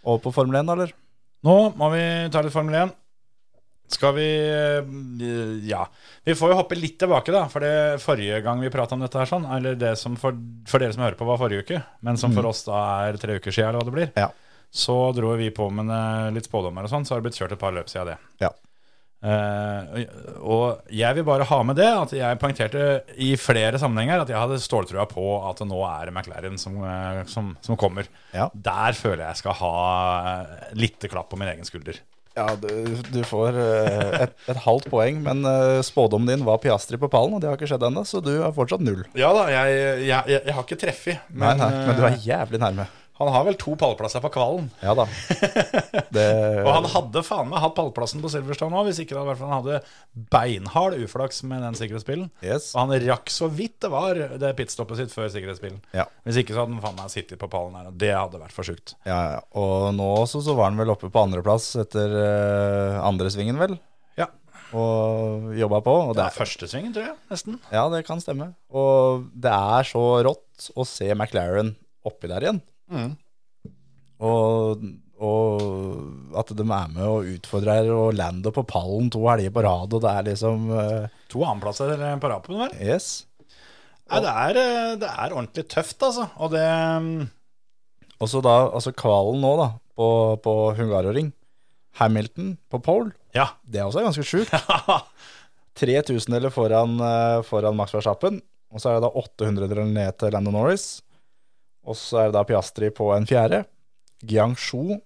Og på Formel 1, eller? Nå må vi ta litt Formel 1. Skal vi eh, Ja. Vi får jo hoppe litt tilbake, da. For det forrige gang vi prata om dette her, sånn, eller det som for, for dere som hører på, var forrige uke, men Mm. som for oss da er tre uker siden, eller hva det blir, Ja. så dro vi på med eh, litt spådommer og sånn, så har det blitt kjørt et par løp siden det. Ja. Eh, og jeg vil bare ha med det at jeg poengterte i flere sammenhenger at jeg hadde ståltrua på at det nå er det McLaren som, eh, som, som kommer. Ja. Der føler jeg jeg skal ha eh, litt klapp på min egen skulder. Ja, du, du får eh, et, et halvt poeng, men eh, spådommen din var Piastri på pallen, og det har ikke skjedd ennå, så du er fortsatt null. Ja da, jeg, jeg, jeg, jeg har ikke treffet, Nei, men, nei, men du eh, er jævlig nærme. han har vel to pallplasser på kvalen. Ja da. *laughs* Det, Og han hadde faen meg hatt pallplassen på Silverstone òg, hvis ikke det hadde vært for han hadde beinhard uflaks med den sikkerhetsbilen. yes. Og han rakk så vidt det var det pitstoppet sitt før sikkerhetsbilen. Ja. Hvis ikke så hadde han faen meg sittet på pallen her, og det hadde vært for sjukt. Ja, ja. Og nå også så var han vel oppe på andreplass etter eh, andre svingen, vel? Ja. Og jobba på. Og det Det er første svingen, tror jeg, nesten. ja, det kan stemme. Og det er så rått å se McLaren oppi der igjen. Og, og at de er med og utfordrer og lander på pallen to helger på rad, og det er liksom eh, To annenplasser eh, på rapen der. Yes. Nei, det er, eh, det er ordentlig tøft, altså. Og det mm, Og så da, altså kvalen nå, da, på, på Hungaroring. Hamilton på pole, Ja. det også er ganske *laughs* sjukt. Tre tusendeler foran, eh, foran Max Verstappen. Og så er det da 800 ned til Lando Norris. Og så er det da Piastri på en fjerde. Guangzhou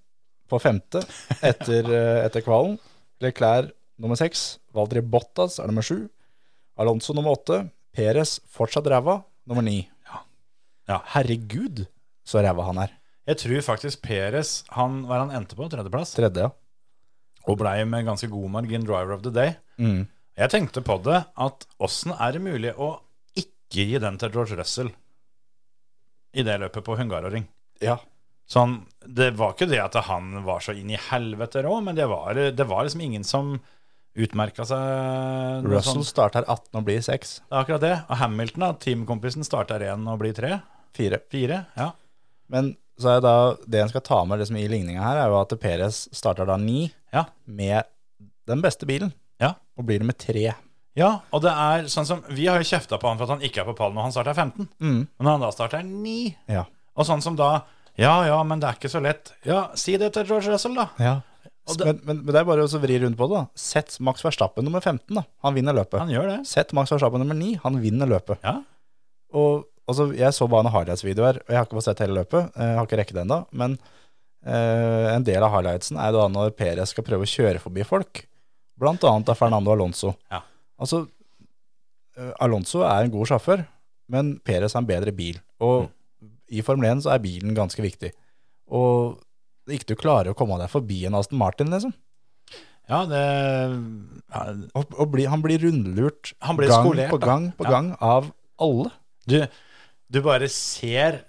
på femte *laughs* etter, eh, etter kvalen. Leclerc nummer seks. Valdri Bottas er nummer sju. Alonso nummer åtte. Perez fortsatt ræva. Nummer ni. Ja. Herregud, så ræva han er. Jeg tror faktisk Peres han, Hva er han endte på? Tredjeplass? Tredje, ja. Og blei med ganske god margin driver of the day. Mm. Jeg tenkte på det at åssen er det mulig å ikke gi den til George Russell i det løpet på Hungaroring? Ja. Sånn, det var ikke det at han var så inn i helvete rå, men det var, det var liksom ingen som utmerka seg noe Russell sånn. starter 18 og blir 6. Det er akkurat det. Og Hamilton, da, teamkompisen, starter én og blir tre. 4. Fire. Ja. Men så er det da, det en skal ta med liksom, i ligninga her, er jo at Perez starter da 9 Ja. med den beste bilen. Ja. Og blir nummer 3. ja. Og det er sånn som Vi har jo kjefta på han for at han ikke er på pallen når han starter 15, Mm. men når han da starter 9 Ja. Og sånn som da Ja, ja, men det er ikke så lett. Ja, si det til George Russell, da. Og det- men, men, men det er bare å så vri rundt på det. da. Sett Max Verstappen nummer 15, da. Han vinner løpet. Han gjør det. Sett Max Verstappen nummer 9, han vinner løpet. Ja. Og altså, jeg så bare noen highlights-video her, og jeg har ikke fått sett hele løpet. Jeg har ikke rekket det ennå. Men eh, en del av highlightsen er da når Perez skal prøve å kjøre forbi folk. Blant annet av Fernando Alonso. Ja. Altså, eh, Alonso er en god sjåfør, men Perez er en bedre bil. Og Mm. i Formel 1 så er bilen ganske viktig. Og ikke du klarer å komme deg forbi en Aston Martin, liksom. Ja, det ja, Og, og bli, han blir rundlurt Han blir gang skolert, på da. gang på Ja. gang av alle. du, du bare ser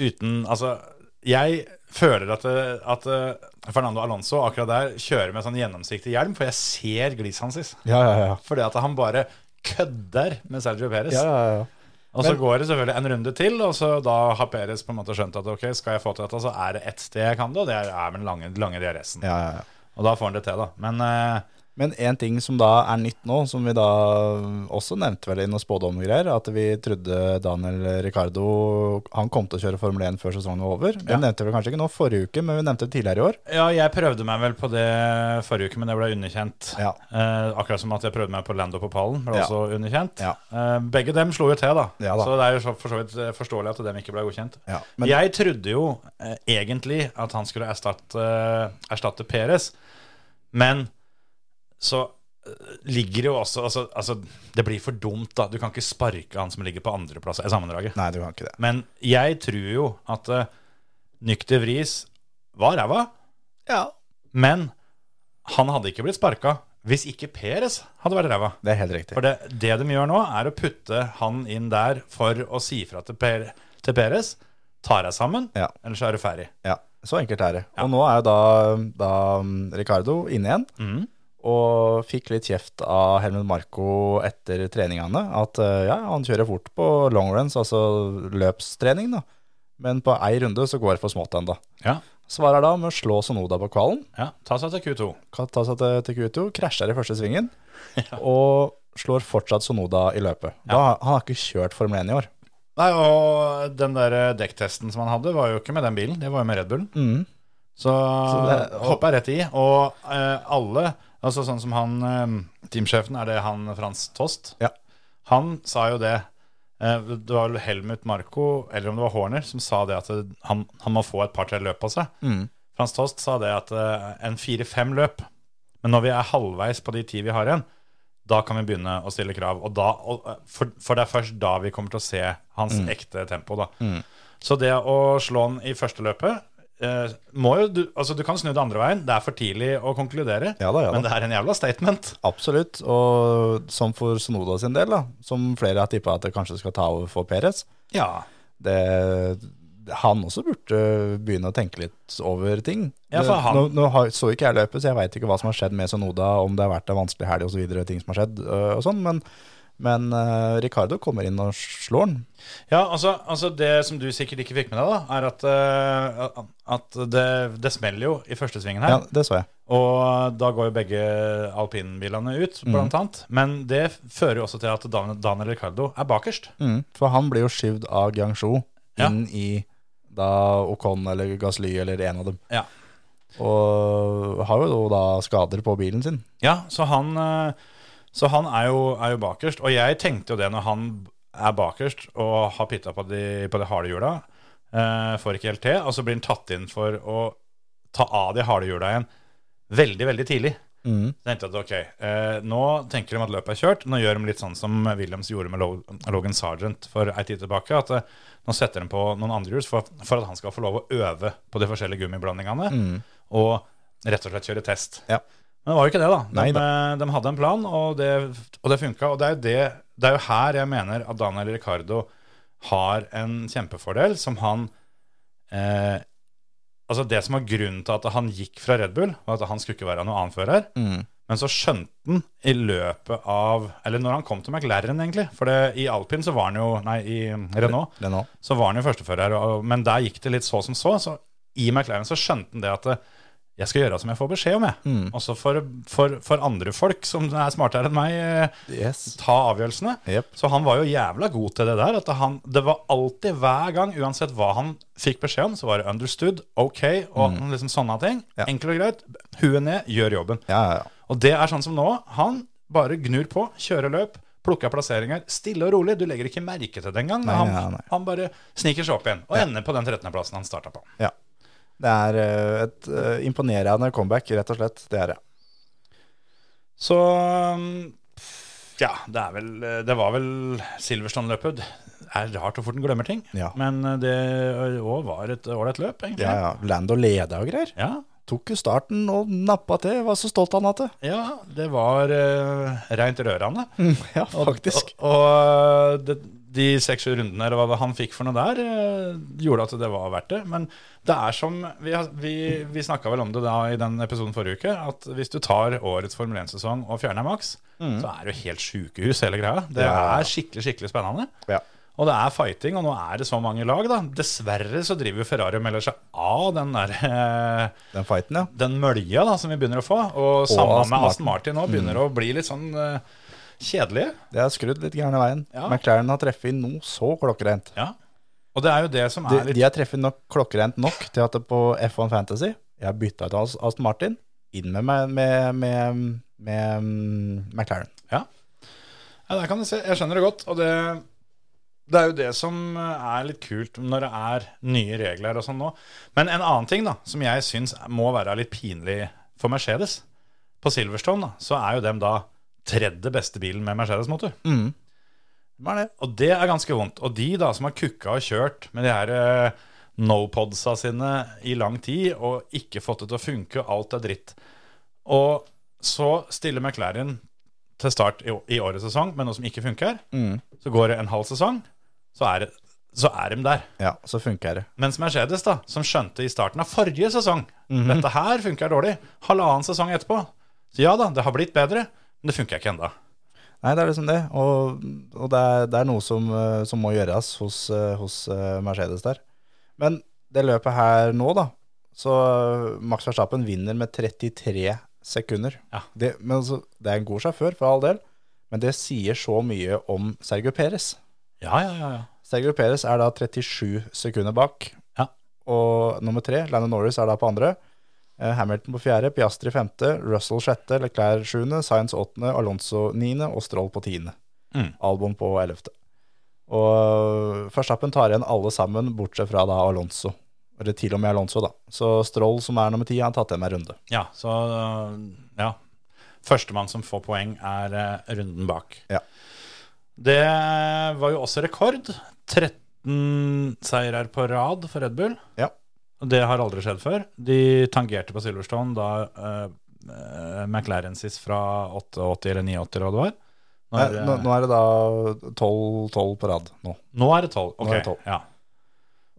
uten Altså, jeg føler at, det- at eh, Fernando Alonso akkurat der kjører med sånn gjennomsiktig hjelm, for jeg ser gliset hans. Ja, ja, ja. Fordi at han bare kødder med Sergio Perez. Ja, ja, ja. Og så går det selvfølgelig en runde til, og så da har Perez på en måte skjønt at ok, skal jeg få til dette, så er det ett sted jeg kan det, og det er, er den lange, lange DRS-en. ja, ja, ja. Og da får han det til, da. Men eh, Men en ting som da er nytt nå, som vi da også nevnte vel i noen spådomgreier, at vi trodde Daniel Ricardo han kom til å kjøre Formel 1 før sesongen var over. Det Ja. nevnte vi kanskje ikke nå forrige uke, men vi nevnte det tidligere i år. ja, jeg prøvde meg vel på det forrige uke, men det ble underkjent. Ja. Eh, akkurat som at jeg prøvde meg på Lando på pallen, ble Ja. også underkjent. Ja. Eh, begge dem slo jo til, da. Ja da. Så det er jo så- for så vidt eh, forståelig at dem ikke ble godkjent. Ja, men- Jeg trodde jo eh, egentlig at han skulle erstatte, eh, erstatte Peres, men så eh, ligger det jo også altså, altså, Det blir for dumt, da. Du kan ikke sparke han som ligger på andreplass i sammendraget. Nei, du kan ikke det. Men jeg tror jo at uh, Nykter Vris var ræva, Ja. men han hadde ikke blitt sparka hvis ikke Peres hadde vært ræva. Det er helt riktig. For det, det de gjør nå, er å putte han inn der for å si fra til, per, til Peres. Ta deg sammen, Ja. ellers er du ferdig. Ja, så enkelt er det. Og nå er jo da, da mm, Ricardo inne igjen, og fikk litt kjeft av Helmut Marko etter treningene, at eh, ja, han kjører fort på long runs, altså løpstrening da, men på ei runde så går det for smått enda. Ja. Svarer da med å slå Sonoda på kvalen, ja. Ta seg til Q2. kan ta seg til, til Q2, krasjer i første svingen, og slår fortsatt Sonoda i løpet. Da, han har ikke kjørt Formel 1 i år. Nei, og den der eh, dekktesten som han hadde, var jo ikke med den bilen, det var jo med Red Bullen. Så, Mm. eh, det- hoppet hoppa rett i. Og eh, alle, altså sånn som han eh, teamsjefen, er det han Frans Tost? Ja. Han sa jo det. eh, det var vel Helmut Marko, eller om det var Horner, som sa det at det- han, han må få et par-tre løp på seg. Mm. Frans Tost sa det at eh, en fire-fem løp, men når vi er halvveis på de ti vi har igjen, da kan vi begynne å stille krav. Og da, og, eh, for, for det er først da vi kommer til å se hans Mm. ekte tempo. Da. Så det å slå han i første løpet eh, må jo, du, altså, du kan snu det andre veien. Det er for tidlig å konkludere, Ja da, ja da. men det er en jævla statement. Absolutt, og som for Sonoda sin del, da, som flere har tippa at det kanskje skal ta over for Perez, Ja. det, han også burde begynne å tenke litt over ting. Ja, for han- nå, nå har- så ikke jeg løpet, så jeg veit ikke hva som har skjedd med Sonoda, om det har vært en vanskelig helg osv., ting som har skjedd øh, og sånn, men, men øh, Ricardo kommer inn og slår han. ja altså, altså det som du sikkert ikke fikk med deg, da, er at, eh, at det, det smeller jo i første svingen her. Ja, det så jeg. Og da går jo begge alpinbilene ut, blant annet. Men det fører jo også til at Dan- Daniel Ricardo er bakerst. Mm, for han blir jo skyvd av Guangzhou Ja. inn i da Ocon eller Gasly eller en av dem, Ja. og har jo da skader på bilen sin. Ja, så han, eh, så han er, jo, er jo bakerst. Og jeg tenkte jo det når han er bakerst og har pitta på de, på de harde hjula, eh, får ikke helt til, og så blir han tatt inn for å ta av de harde hjula igjen veldig, veldig tidlig. Mm. Så tenkte jeg at ok, eh, nå tenker de at løpet er kjørt. Nå gjør de litt sånn som Williams gjorde med Lo- Logan Sargent for ei tid tilbake. At eh, nå setter de på noen andre hjul for, for at han skal få lov å øve på de forskjellige gummiblandingene. Og rett og slett kjøre test. Mm. Ja. Men det var jo ikke det, da. De, eh, Nei de hadde en plan, og det, og det funka. Og det er, jo det, det er jo her jeg mener at Daniel Ricardo har en kjempefordel som han eh, Altså Det som var grunnen til at han gikk fra Red Bull, var at han skulle ikke være noen annen fører. Men så skjønte han i løpet av Eller når han kom til McLaren, egentlig. For det, i Alpin så var han jo Nei, i Renault Renault. så var han jo førstefører. og- Men der gikk det litt så som så. Så i McLaren så skjønte han det at eh, jeg skal gjøre som jeg får beskjed om, jeg. Også for, for, for andre folk som er smartere enn meg, eh, Yes. ta avgjørelsene. Jep. Så han var jo jævla god til det der. At han, det var alltid, hver gang, uansett hva han fikk beskjed om, så var det understood, ok, og liksom sånne ting. Mhm. Ja. Enkelt og greit. Huet ned, gjør jobben. Ja, ja, ja. Og det er sånn som nå. Han bare gnur på, kjører løp, plukker plasseringer. Stille og rolig. Du legger ikke merke til det engang. men Nei, Han, nei, nei. han bare sniker seg opp igjen og ender på den 13.-plassen han starta på. ja. Det er eh, et eh, imponerende comeback, rett og slett. Det er det. Så um, ja, det er vel Det var vel Silverstone-løpet. Det er rart hvor fort en glemmer ting, Ja. men eh, det òg var et ålreit løp, egentlig. Ja, ja. Lando leda og greier. ja. Tok jo starten og nappa til. Var så stolt han av *laughs* det. Ja, Mm. det var uh, reint rørende. Ja, faktisk. Og, og det, de seks-sju rundene eller hva det- han fikk for noe der, eh, gjorde at det var verdt det. Men det er som Vi, har- vi, vi snakka vel om det da i den episoden forrige uke, at hvis du tar årets Formel 1-sesong og fjerner Max, så er det jo helt sjukehus, hele greia. Det Mm. Ja. er skikkelig, skikkelig spennende. Ja. Og det er fighting, og nå er det så mange lag, da. Dessverre så driver jo Ferrari og melder seg av den der eh, Den fighten, ja. den mølja da, som vi begynner å få, og sammen Aston Mm. med Aston Martin nå begynner å bli litt sånn eh, kjedelige. Det er skrudd litt gærne veien. Ja. McLaren har treffet inn noe så klokkerent. Ja. Og det er jo det som De, er litt de har treffet nok, klokkerent nok til at det på F1 Fantasy Jeg har bytta ut As- Aston Martin inn med, med, med, med, med mm, McLaren. Ja. ja, der kan du se. Jeg skjønner det godt. Og det, det er jo det som er litt kult når det er nye regler og sånn nå. Men en annen ting da, som jeg syns må være litt pinlig for Mercedes På Silverstone da, så er jo dem da tredje beste bilen med Mercedes-motor. Hva er det? Og det er ganske vondt. Og de da som har kukka og kjørt med de her eh, no-podsa sine i lang tid og ikke fått det til å funke, alt er dritt. Og så stiller McLaren til start i, i årets sesong med noe som ikke funker. Så går det en halv sesong, så er, det- så er de der. Ja, så funker det. Mens Mercedes, da, som skjønte i starten av forrige sesong Dette her funker dårlig. Halvannen sesong etterpå. Så ja da, det har blitt bedre, men det funker ikke enda. Nei, det er liksom det. Og, og det, er, det er noe som, eh, som må gjøres hos, eh, hos eh, Mercedes der. Men det løpet her nå, da Så eh, Max Verstappen vinner med 33 sekunder. Ja. Det, men altså, det er en god sjåfør, for all del, men det sier så mye om Sergio Perez. Ja, ja, ja. ja. Sergio Perez er da 37 sekunder bak. Ja. Og nummer tre, Landon Norris, er da på andre. Eh, Hamilton på fjerde, Piastri femte, Russell sjette, Leclerc sjuende, Sainz åttende, Alonso niende og Stroll på tiende. Mm. Albon på ellevte. Og Verstappen tar igjen alle sammen, bortsett fra da Alonso. Eller til og med Alonso, da. Så Stroll, som er nummer ti, han har tatt igjen en runde. Ja, så øh, ja. Førstemann som får poeng, er eh, runden bak. Ja. Det var jo også rekord. 13 seirer på rad for Red Bull. Ja. Og Det har aldri skjedd før. De tangerte på Silverstone da eh, eh, McLaren sist fra 88 eller 89, eller hva det var. Nå Nei, er, det- nå, nå er det da tolv på rad nå. nå er det 12. Ok, er det 12. Ja.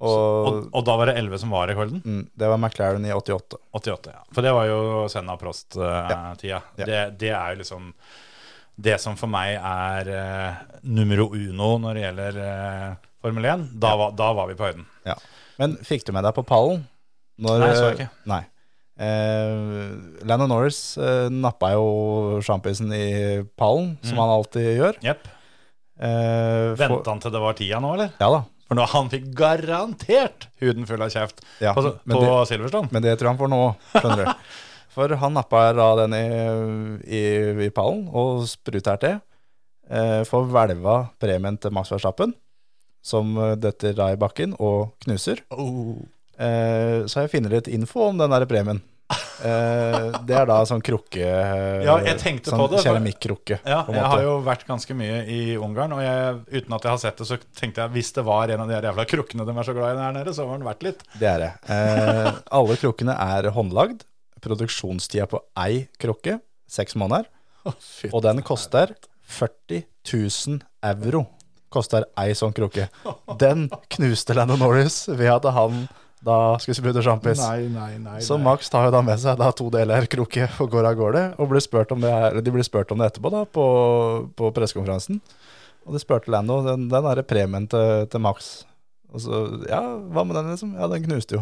Og, Og, og da var det 11 som var rekorden? mm, det var McLaren i 88. 88, ja. For det var jo Senna Prost-tida. Ja. eh, det, det er jo liksom det som for meg er eh, numero uno når det gjelder eh, Formel 1. Da, var, da var vi på høyden. Ja. Men fikk du med deg på pallen? Når, Nei, så jeg ikke. Nei. Eh, Landon Norris eh, nappa jo sjampisen i pallen, som han alltid gjør. Jepp. Eh, for- Mm. Venta han til det var tida nå, eller? Ja da. For nå han fikk garantert huden full av kjeft Ja, på, men på Silverstone. Men det tror jeg han får nå, skjønner *laughs* du. For han nappa da den i, i, i pallen og spruterte. Eh, for hvelva premien til Max Verstappen, som eh, detter da i bakken og knuser. Oh, Eh, så jeg finner litt info om den der premien. Eh, det er da sånn krukke eh, Ja, jeg tenkte sånn på det, for- Keramikkrukke. Ja, på en jeg måte. har jo vært ganske mye i Ungarn, og jeg, uten at jeg har sett det, så tenkte jeg hvis det var en av de her jævla krukkene de er så glad i der nede, så var den verdt litt. Det er det. Eh, alle krukkene er håndlagd. Produksjonstida på ei krukke, seks måneder. Og den koster 40 000 euro. Koster ei sånn krukke. Den knuste Landon Norris ved at han da skulle sprute sjampis. nei, nei. Så Max tar jo da med seg da to deler krukke og går av gårde. Og blir spurt om det her, eller de blir spurt om det etterpå, da, på, på pressekonferansen. Og de spurte Lando den, den er premien til, til Max. Og så Ja, hva med den, liksom? Ja, den knuste jo.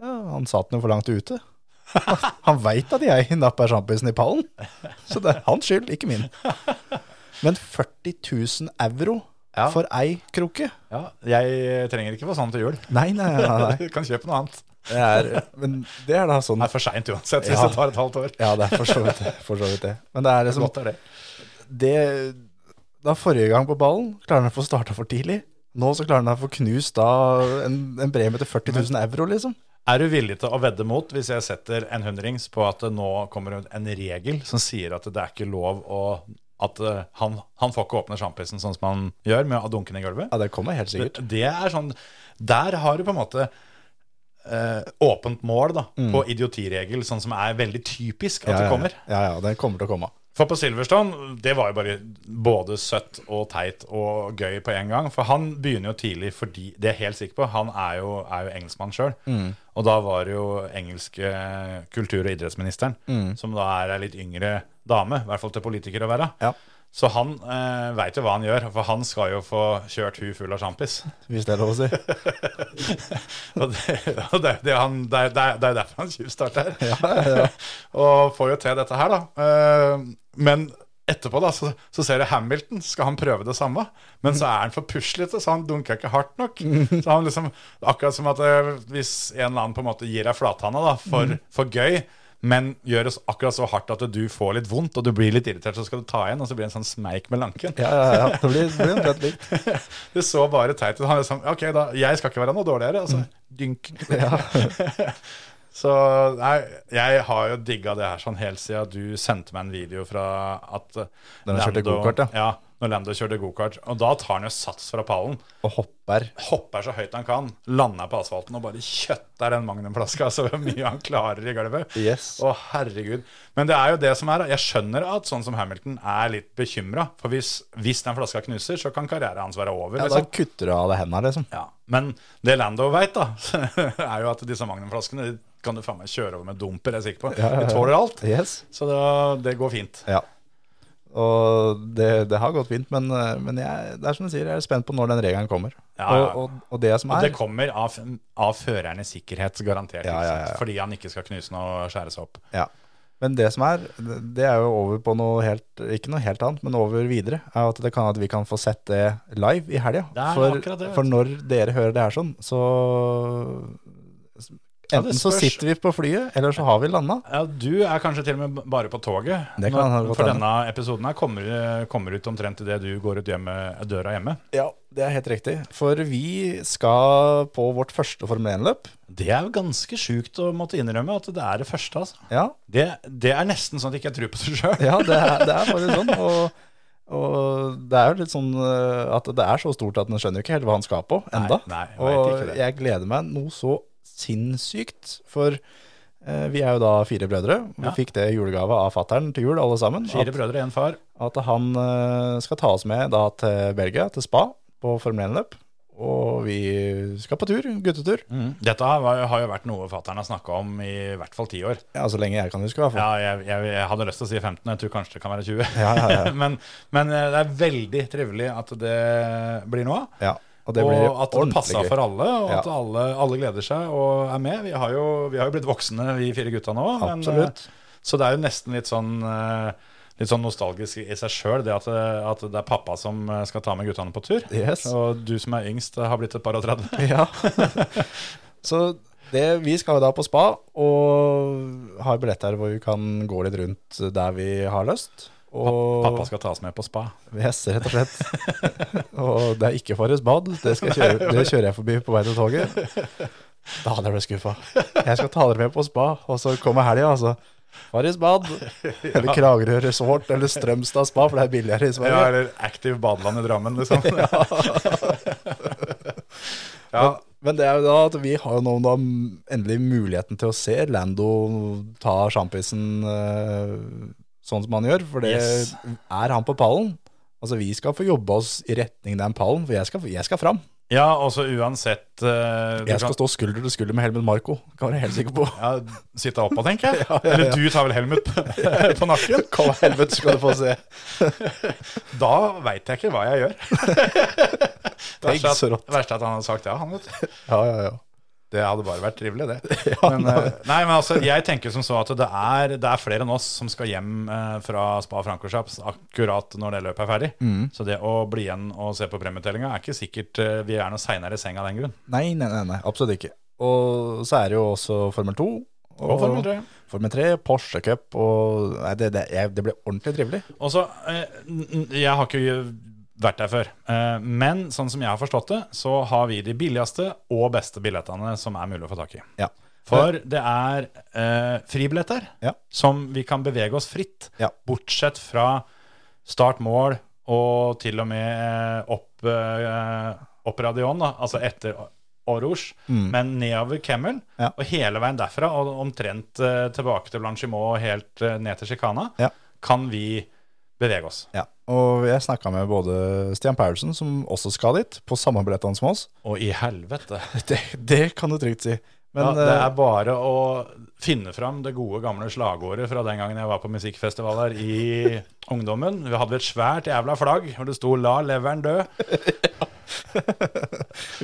Ja, han satt den jo for langt ute. *laughs* Han veit at jeg napper sjampisen i pallen, så det er hans skyld, ikke min. Men 40 000 euro Ja. for ei krukke? Ja, jeg trenger ikke få sånn til jul. Nei, nei, nei. nei. Du kan kjøpe noe annet. Det er, men det er da sånn Det er for seint uansett, hvis Ja. det tar et halvt år. Ja, det er for så vidt det. For så vidt det. Men det er liksom Godt er det. det, Da forrige gang på ballen klarer han å få starta for tidlig. Nå så klarer han å få knust da en, en premie til 40 000 euro, liksom. Er du villig til å vedde mot, hvis jeg setter en hundrings på at det nå kommer en regel som sier at det er ikke lov å At eh, han, han får ikke åpne sjampisen sånn som han gjør, med å dunke den i gulvet? Ja, det kommer helt sikkert. Det, det er sånn Der har du på en måte eh, åpent mål da, på idiotiregel, sånn som er veldig typisk at Mm. Ja, ja, det kommer. Ja, ja, den kommer til å komme. For på Silverstone, det var jo bare både søtt og teit og gøy på en gang. For han begynner jo tidlig fordi Det er jeg helt sikker på. Han er jo, er jo engelskmann sjøl. Og da var det jo engelske kultur- og idrettsministeren, som da er ei litt yngre dame, i hvert fall til politiker å være. Ja. Så han eh, veit jo hva han gjør, for han skal jo få kjørt hun full av sjampis. hvis det er *laughs* lov å si. Og det, og det, det, er han, det, er- det, er- det er derfor han tjuvstarter. *laughs* og får jo til dette her, da. Eh, Men etterpå da, så, så ser du Hamilton, skal han prøve det samme? Men så er han for puslete, så han dunker ikke hardt nok. Så han liksom, Akkurat som at eh, hvis en eller annen på en måte gir deg flathanda da, for, for gøy, men gjør det akkurat så hardt at du får litt vondt og du blir litt irritert, så skal du ta igjen, og så blir det en sånn smeik med lanken. Ja, ja, ja. Det blir, det blir omtrent likt. *laughs* Det så bare teit ut. Han liksom Ok, da, jeg skal ikke være noe dårligere. Altså, Mm. *laughs* dynk. *laughs* så nei, jeg har jo digga det her sånn helt siden du sendte meg en video fra at eh, Når han kjørte Lando- gokart, ja. ja. Når Lando kjørte gokart. Og da tar han jo sats fra pallen. Og hopper. Hopper så høyt han kan, lander på asfalten og bare kjøtter den magnumflaska så mye han klarer i gulvet. Yes. Å, herregud. Men det er jo det som er. da. Jeg skjønner at sånn som Hamilton er litt bekymra. For hvis, hvis den flaska knuser, så kan karrieren hans være over. Ja, da liksom. kutter du av deg hendene, liksom. Ja, Men det Lando veit, da, *laughs* er jo at disse magnumflaskene de kan du faen meg kjøre over med dumper. jeg er sikker på. De tåler alt. Yes. Så det, det går fint. Ja. Og det, det har gått fint, men, eh, men jeg, det er som du sier, jeg er spent på når den regelen kommer. Ja, ja. Og, og, og det som Og er det kommer av, av førernes sikkerhet, garantert. Ja, ikke ja, sant? ja. Fordi han ikke skal knuse noe og skjære seg opp. ja. Men det som er, det- det er jo over på noe helt Ikke noe helt annet, men over videre. Er jo at det kan at vi kan få sett det live i helga. Det er For, akkurat det, vet for du. når dere hører det her sånn, så Ja, Enten det så spørs. sitter vi på flyet, eller så har vi landa. Ja, Du er kanskje til og med bare på toget. Det kan Når- godt for hende. denne episoden her kommer, kommer ut omtrent idet du går ut hjemme, døra hjemme. Ja, det er helt riktig. For vi skal på vårt første Formel 1-løp. Det er jo ganske sjukt å måtte innrømme at det er det første. altså. Ja, Det, det er nesten sånn at jeg ikke tror på det sjøl. Ja, det er, det er faktisk sånn. Og, og det er jo litt sånn eh, at det er så stort at en skjønner jo ikke helt hva han skal på enda. Nei, nei, jeg vet ikke og det. jeg gleder meg noe så sinnssykt, for eh, vi er jo da fire brødre. Vi Ja. fikk det i julegave av fattern til jul, alle sammen. Fire brødre, én far. At, at han eh, skal ta oss med da til Belgia, til Spa, på Formel 1-løp. Og vi skal på tur, guttetur. Mm. Dette har, var- har jo vært noe fattern har snakka om i hvert fall ti år. Ja, så lenge jeg kan huske, i hvert fall. Ja, jeg, jeg, jeg hadde lyst til å si 15, jeg tror kanskje det kan være 20. Ja, ja, ja. *laughs* men, men eh, det er veldig trivelig at det blir noe av. Ja, og det blir og at det ordentlig passer gøy. for alle, og Ja. at alle, alle gleder seg og er med. Vi har jo, vi har jo blitt voksne, vi fire gutta nå. men, eh, Absolutt. så det er jo nesten litt sånn eh, Litt sånn nostalgisk i seg sjøl, det at, eh, at det er pappa som eh, skal ta med guttene på tur. Yes. Og du som er yngst, eh, har blitt et par og 30. Ja. *laughs* Så det, vi skal jo da på spa og har billetter hvor vi kan gå litt rundt der vi har lyst. Og Pappa skal tas med på spa. *laughs* Yes, rett og slett. *laughs* og det er ikke Farris bad, det, skal jeg kjøre, det kjører jeg forbi på vei til toget. Da hadde jeg blitt skuffa. Jeg skal ta dere med på spa, og så kommer helga, altså. Farris *laughs* bad, eller Kragerø resort, eller Strømstad spa, for det er billigere i Sverige. Ja, eller Active Badeland i *laughs* Drammen, liksom. Men, men det er jo da at vi har jo nå da endelig muligheten til å se Lando ta sjampisen eh, sånn som han gjør, for det Yes. er han på pallen. Altså Vi skal få jobbe oss i retning den pallen, for jeg skal, jeg skal fram. Ja, også uansett eh, du Jeg skal kan- stå skulder til skulder med Helmut Marco, kan være helt sikker på. ja, Sitte oppå, tenker *laughs* jeg. Eller du tar vel Helmut på- *laughs* på nakken? Hva helvete skal du få se? *laughs* Da veit jeg ikke hva jeg *laughs* gjør. Tenk Verst så at, rått. verst at han hadde sagt *laughs* ja, han, vet du. Ja, ja, ja. Det hadde bare vært trivelig, det. *laughs* Ja, Men, nei. eh, nei, men altså, jeg tenker som så at det er, det er flere enn oss som skal hjem eh, fra Spa Francorchaps akkurat når det løpet er ferdig. Mm. Så det å bli igjen og se på premieutdelinga er ikke sikkert eh, vi er noe seinere i seng av den grunn. Nei, nei, nei, nei, absolutt ikke. Og så er det jo også Formel 2. Og Formel 3. Formel 3, Porsche Cup og Nei, det, det, jeg, det ble ordentlig trivelig. Og så, eh, n- n- Jeg har ikke vært der før, eh, men sånn som jeg har forstått det, så har vi de billigste og beste billettene som er mulig å få tak i. Ja. For det er eh, fribilletter Ja. som vi kan bevege oss fritt, Ja. bortsett fra start, mål og til og med eh, opp, eh, opp Radion, da, altså etter Orouge, men nedover Kemmel, Mm. Ja. og hele veien derfra, og omtrent eh, tilbake til Blanchimot og helt eh, ned til Chicana, Ja. kan vi bevege oss. Ja, og jeg snakka med både Stian Paulsen, som også skal dit, på samme billettene som oss. Og i *laughs* helvete. *laughs* Det, det kan du trygt si. Men ja, det eh, er bare å finne fram det gode gamle slagordet fra den gangen jeg var på musikkfestivaler *laughs* i ungdommen. Vi hadde et svært jævla flagg hvor det sto 'La leveren dø'.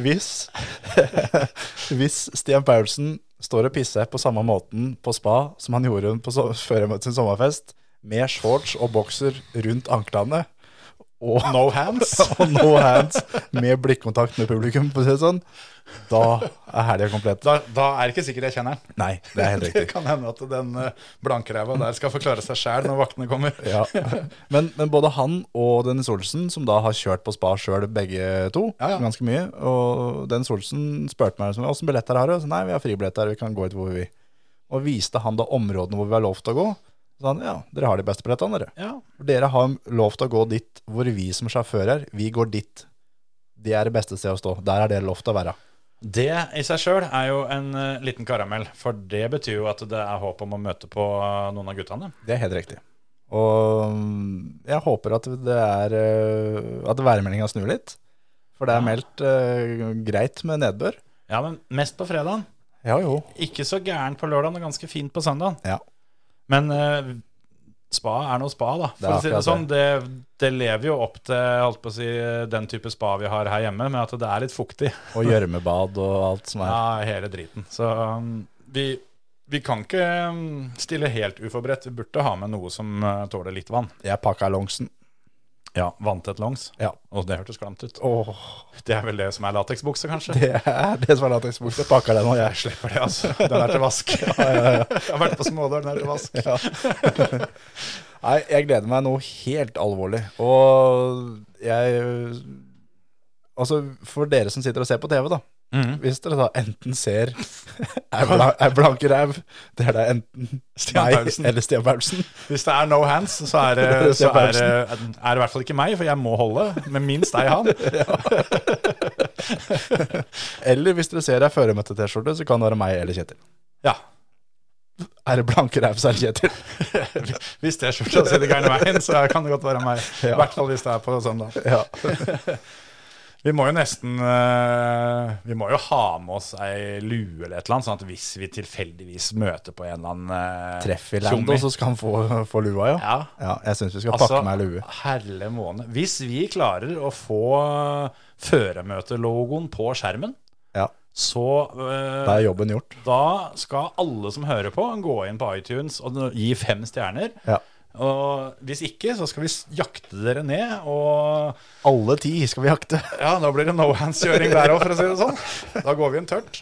hvis, *laughs* hvis Stian Paulsen står og pisser på samme måten på spa som han gjorde på so før jeg møtte sin sommerfest, med shorts og bokser rundt anklene og No hands. *laughs* og no hands med blikkontakt med publikum, for å si det sånn, da er helga komplett. Da, da er det ikke sikkert jeg kjenner den. Nei, det er helt *laughs* Det riktig. kan hende at den eh, blankræva der skal forklare seg sjæl når vaktene kommer. Ja. *laughs* Men, men både han og Dennis Olsen, som da har kjørt på spa sjøl begge to, Ja, ja. ganske mye, og Dennis Olsen spurte meg liksom, åssen billetter har du? Så nei, vi har fribilletter, vi kan gå ut hvor vi vil. Og viste han da områdene hvor vi har lov til å gå. Så sa han ja, dere har de beste billettene, dere. Ja. For Dere har lov til å gå dit hvor vi som sjåfører, vi går dit. Det er det beste stedet å stå. Der er det lov til å være. Det i seg sjøl er jo en eh, liten karamell, for det betyr jo at det er håp om å møte på eh, noen av guttene. Det er helt riktig. Og mm, jeg håper at det er eh, At værmeldinga snur litt. For det er meldt eh, greit med nedbør. Ja, men mest på fredagen. Ja jo. Ikke så gæren på lørdagen og ganske fint på søndagen. Ja. Men eh, spa er noe spa, da. Det For er å si det sånn, akkurat det, det lever jo opp til holdt på å si, den type spa vi har her hjemme, med at det er litt fuktig. Og gjørmebad og alt som er. Ja, hele driten. Så um, vi, vi kan ikke um, stille helt uforberedt. Vi burde ha med noe som uh, tåler litt vann. Jeg pakka longsen. Ja, Vanntett longs. Ja. *laughs* Og det hørtes klamt ut. Åh, Det er vel det som er lateksbukse, kanskje? det er det som er lateksbukse. Jeg pakka den og jeg slipper. For det, altså. Den er *laughs* til vask. Jeg har vært på Smådalen, den er til vask. Ja. Nei, jeg gleder meg noe helt alvorlig. Og jeg Altså, for dere som sitter og ser på TV, da. Mhm. Hvis dere da enten ser *laughs* ei bla- ei blank ræv, det er da enten Stian meg Paulsen. eller Stian Paulsen. Hvis det er no hands, så *laughs* er det, Det er så er, det- Paulsen. er det i hvert fall ikke meg, for jeg må holde. Men minst er han. Eller hvis dere ser ei føremøtte-T-skjorte, så kan det være meg eller Kjetil. Ja. Er det blank ræv, så er det Kjetil. *laughs* Hvis T-skjorta sitter gærne veien, så kan det godt være meg. I hvert fall hvis det er på søndag. Ja. Vi må jo nesten eh, Vi må jo ha med oss ei lue eller et eller annet, sånn at hvis vi tilfeldigvis møter på en eller annen eh, Treff i Lando, tjommi. så skal han få, få lua, ja. Ja. Ja, jeg syns vi skal Altså, pakke meg lue. herre måne. Hvis vi klarer å få føremøtelogoen på skjermen, Ja, så eh, Da er jobben gjort. Da skal alle som hører på, gå inn på iTunes og gi fem stjerner. Ja. Og hvis ikke, så skal vi s- jakte dere ned, og Alle ti skal vi jakte. ja, da blir det no hands-kjøring der òg, for å si det sånn. Da går vi inn tørt.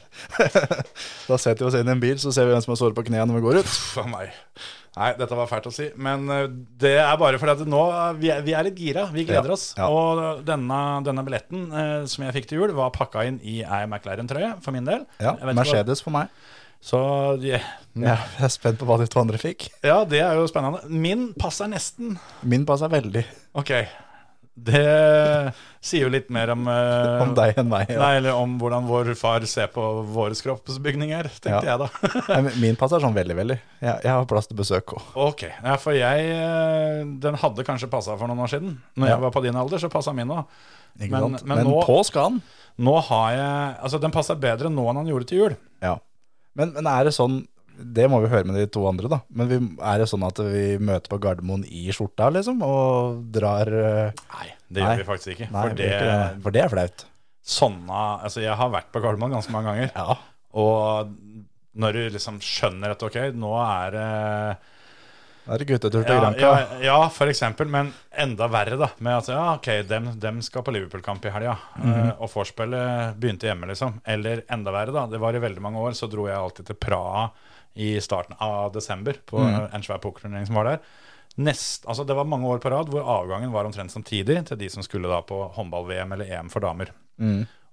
Da setter vi oss inn i en bil, så ser vi hvem som har såret på knærne når vi går ut. Uff a meg. Nei, dette var fælt å si, men eh, det er bare fordi at nå eh, vi er, vi er litt gira. Vi gleder Ja, oss. ja. Og denne, denne billetten eh, som jeg fikk til jul, var pakka inn i ei McLaren-trøye, for min del. Ja, Jeg vet ikke hva- Mercedes for meg. Så ja. Ja, jeg er spent på hva de to andre fikk. ja, det er jo spennende. Min passer nesten. Min passer veldig Ok. Det sier jo litt mer om eh, om deg enn meg. Ja. Nei, eller om hvordan vår far ser på våre kroppsbygninger, tenkte Ja. jeg da. *laughs* Nei, men Min passer sånn veldig, veldig. Jeg, jeg har plass til besøk òg. ok, ja, for jeg eh, Den hadde kanskje passa for noen år siden. Når Ja. jeg var på din alder, så passa min òg. Men, Men- men, men men nå- på skal han. Nå har jeg Altså, den passer bedre nå enn han gjorde til jul. Ja. Men, men er det sånn Det må vi høre med de to andre, da. Men vi, er det sånn at vi møter på Gardermoen i skjorta, liksom? Og drar eh, Nei, det gjør Nei. vi faktisk ikke. Nei, for det, for det er flaut. sånne Altså, jeg har vært på Gardermoen ganske mange ganger. Ja. Og når du liksom skjønner at ok, nå er det Da er det guttetur til ja, Granca. ja, ja, for eksempel, men enda verre da Med at, ja, ok, dem, dem skal på Liverpool-kamp i helga eh, Og forspillet begynte hjemme liksom Eller enda verre da, det var i veldig mange år Så dro jeg alltid til Praha i starten av desember På eh, en svær pokerturnering som var der Nest, altså Det var mange år på rad hvor avgangen var omtrent samtidig Til de som skulle da på håndball-VM eller EM for damer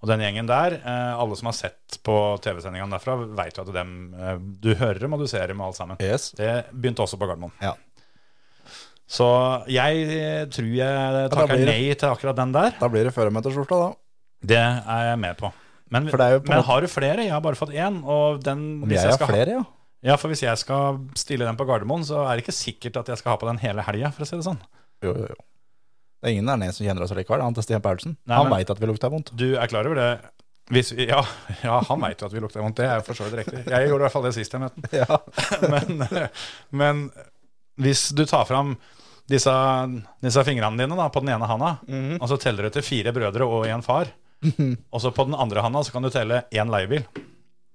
og den gjengen der, eh, alle som har sett på TV-sendingene derfra, vet jo at dem, eh, du hører dem og du ser dem og alt sammen. Yes. Det begynte også på Gardermoen. Ja. Så jeg eh, tror jeg da takker blir det- nei til akkurat den der. Da blir det føremøteskjorta, da. Det er jeg med på. Men, For det er jo på en men måte- har du flere? Jeg har bare fått én. Og den, Om jeg har skal ha- flere, ja. Ja, for hvis jeg skal stille den på Gardermoen, så er det ikke sikkert at jeg skal ha på den hele helga, for å si det sånn. Jo, jo, jo. Det er ingen der nede som kjenner oss likevel, annet enn Stian Paulsen. Nei, han men- veit at vi lukter *laughs* vondt. Du er klar over det? Hvis vi, ja, *laughs* ja, han veit jo at vi lukter vondt. Det er jo for så vidt riktig. Jeg gjorde i hvert fall det sist jeg møtte Ja. han. Men, men hvis du tar fram disse, disse fingrene dine da, på den ene handa, Mhm. og så teller du til fire brødre og en far, og så på den andre handa så kan du telle én leiebil.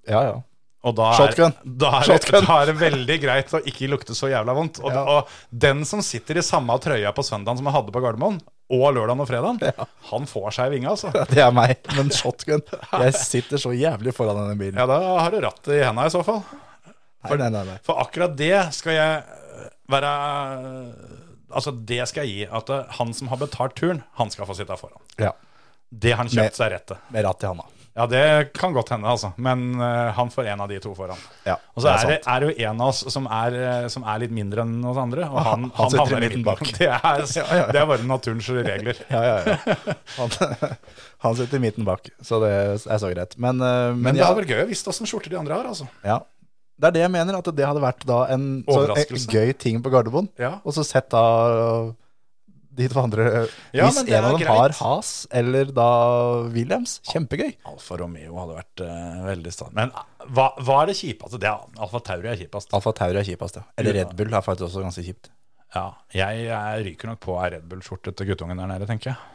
ja, ja. Og da er, Shotgun. Da er, Shotgun. da er det veldig greit å ikke lukte så jævla vondt. Og, Ja. og den som sitter i samme trøya på søndagen som jeg hadde på Gardermoen, og lørdagen og fredagen, han får seg i vinga, *laughs* altså. Det er meg, men shotgun. Jeg sitter så jævlig foran denne bilen. Ja, da har du rattet i henda i så fall. Nei, nei, nei, nei. For akkurat det skal jeg eh, være Altså, det skal jeg gi. At eh, han som har betalt turen, han skal få sitte foran. Ja, Det har han Med- kjøpt seg rett til. Med ratt i handa. Ja, det kan godt hende, altså. Men eh, han får en av de to foran. Ja, Og så det er er det, er det jo en av oss som er, eh, som er litt mindre enn oss andre, og han, han sitter i havner midten bak. *laughs* Det er, det er bare naturens regler. Ja, ja, *laughs* ja. Han, *laughs* han sitter i midten bak, så det er så greit. Men, eh, men, Men det ja, hadde vært gøy å visst åssen skjorter de andre har, altså. ja. Det er det jeg mener, at det hadde vært da en, så, en Overraskelse. gøy ting på Gardermoen. Ja. Og så sett da de to andre Ja, Hvis men det en av er dem greit. har Has eller da Williams, kjempegøy. Alfa Romeo hadde vært eh, veldig stas. Men eh, hva, hva er det kjipeste? Det er Alfa Tauri er kjipest. Alfa Tauri er kjipest, ja. Eller Red Bull er faktisk også ganske kjipt. Ja, jeg, jeg ryker nok på ei Red Bull-skjorte til guttungen der nede, tenker jeg.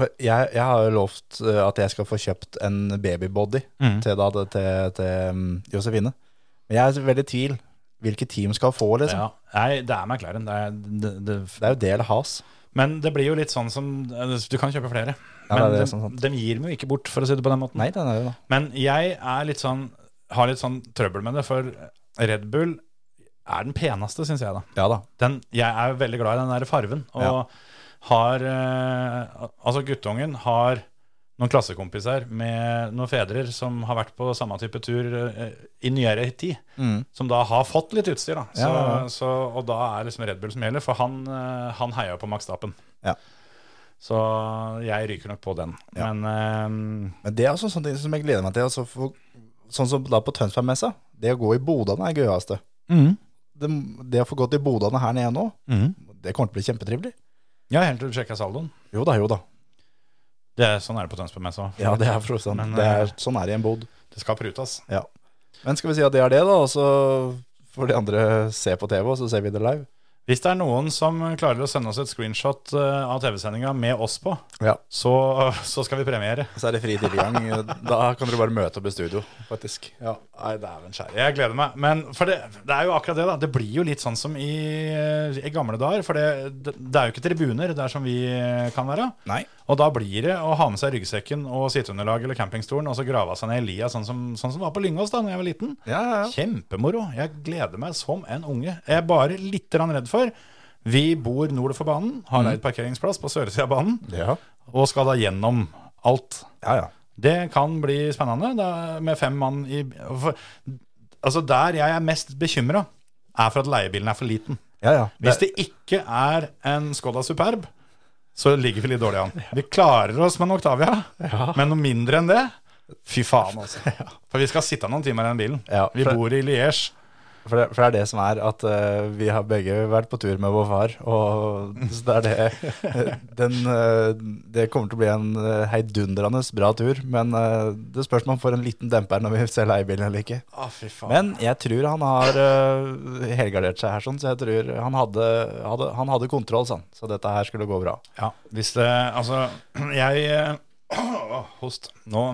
For jeg, jeg har jo lovt eh, at jeg skal få kjøpt en babybody til, da, det- til, til mm, Josefine. Men jeg er så veldig i tvil. Hvilke team skal få, liksom? Ja. Nei, det er McLaren. Det er, det, det, Det er jo del has. men det blir jo litt sånn som Du kan kjøpe flere. Ja, Men det er de, det som er sant. de gir meg jo ikke bort, for å si det på den måten. Nei, den er jo da. Men jeg er litt sånn, har litt sånn trøbbel med det, for Red Bull er den peneste, syns jeg, da. Ja da. den, jeg er veldig glad i den der farven. Og Ja. har eh, Altså, guttungen har noen klassekompiser med noen fedrer som har vært på samme type tur eh, i nyere tid. Som da har fått litt utstyr, da. Så, Mm. Ja, ja, ja. Så, og da er liksom Red Bull som gjelder, for han, eh, han heia jo på Max Stappen. Ja. Så jeg ryker nok på den. Ja. Men eh, Men det er også sånne ting som jeg gleder meg til. Altså, for, sånn som da på Tønsbergmessa. Det å gå i bodene er gøyeste. Mm. Det, det å få gått i bodene her nede nå, det kommer til å bli kjempetrivelig. ja, helt til du sjekker saldoen. Jo da, jo da. Det er, sånn er det på Tønsbergmessa. Ja, det er for så vidt sant. Men, Det er, eh, sånn er det i en bod. det skal prutes. Ja. Men skal vi si at det er det, da? Og så får de andre se på TV, og så ser vi det live. Hvis det er noen som klarer å sende oss et screenshot eh, av TV-sendinga med oss på, Ja. så, så skal vi premiere. Så er det fri tilgang. Da kan dere bare møte opp i studio, faktisk. Ja, nei, dæven skjære. Jeg gleder meg. Men for det, det er jo akkurat det, da. Det blir jo litt sånn som i, i gamle dager. For det, det, det er jo ikke tribuner der som vi kan være. Nei. Og da blir det å ha med seg ryggsekken og sitteunderlag eller campingstolen og så grave seg ned i lia, sånn som, sånn som det var på Lyngås da når jeg var liten. Ja, ja, ja. Kjempemoro. Jeg gleder meg som en unge. Jeg er bare litt grann redd for Vi bor nord for banen, Mm. har leid parkeringsplass på søresida av banen, Ja, og skal da gjennom alt. ja. ja. Det kan bli spennende da, med fem mann i for, Altså, der jeg er mest bekymra, er for at leiebilen er for liten. ja, ja. Hvis det ikke er en Skoda Superb, så ligger vi litt dårlig an. Vi klarer oss med en Octavia, men noe mindre enn det Fy faen, *laughs* altså. For vi skal sitte noen timer i den bilen. Ja, vi for- bor i Liège. For det, for det er det som er at eh, vi har begge vært på tur med vår far, og så det er det *laughs* den, eh, Det kommer til å bli en eh, heidundrende bra tur, men eh, det spørs om han får en liten demper når vi ser leiebilen eller ikke. Å, fy faen. Men jeg tror han har eh, helgardert seg her, sånn, så jeg tror han hadde, hadde, han hadde kontroll, sånn, så dette her skulle gå bra. Ja, hvis det Altså, *clears throat* jeg eh, *clears throat* Host. Nå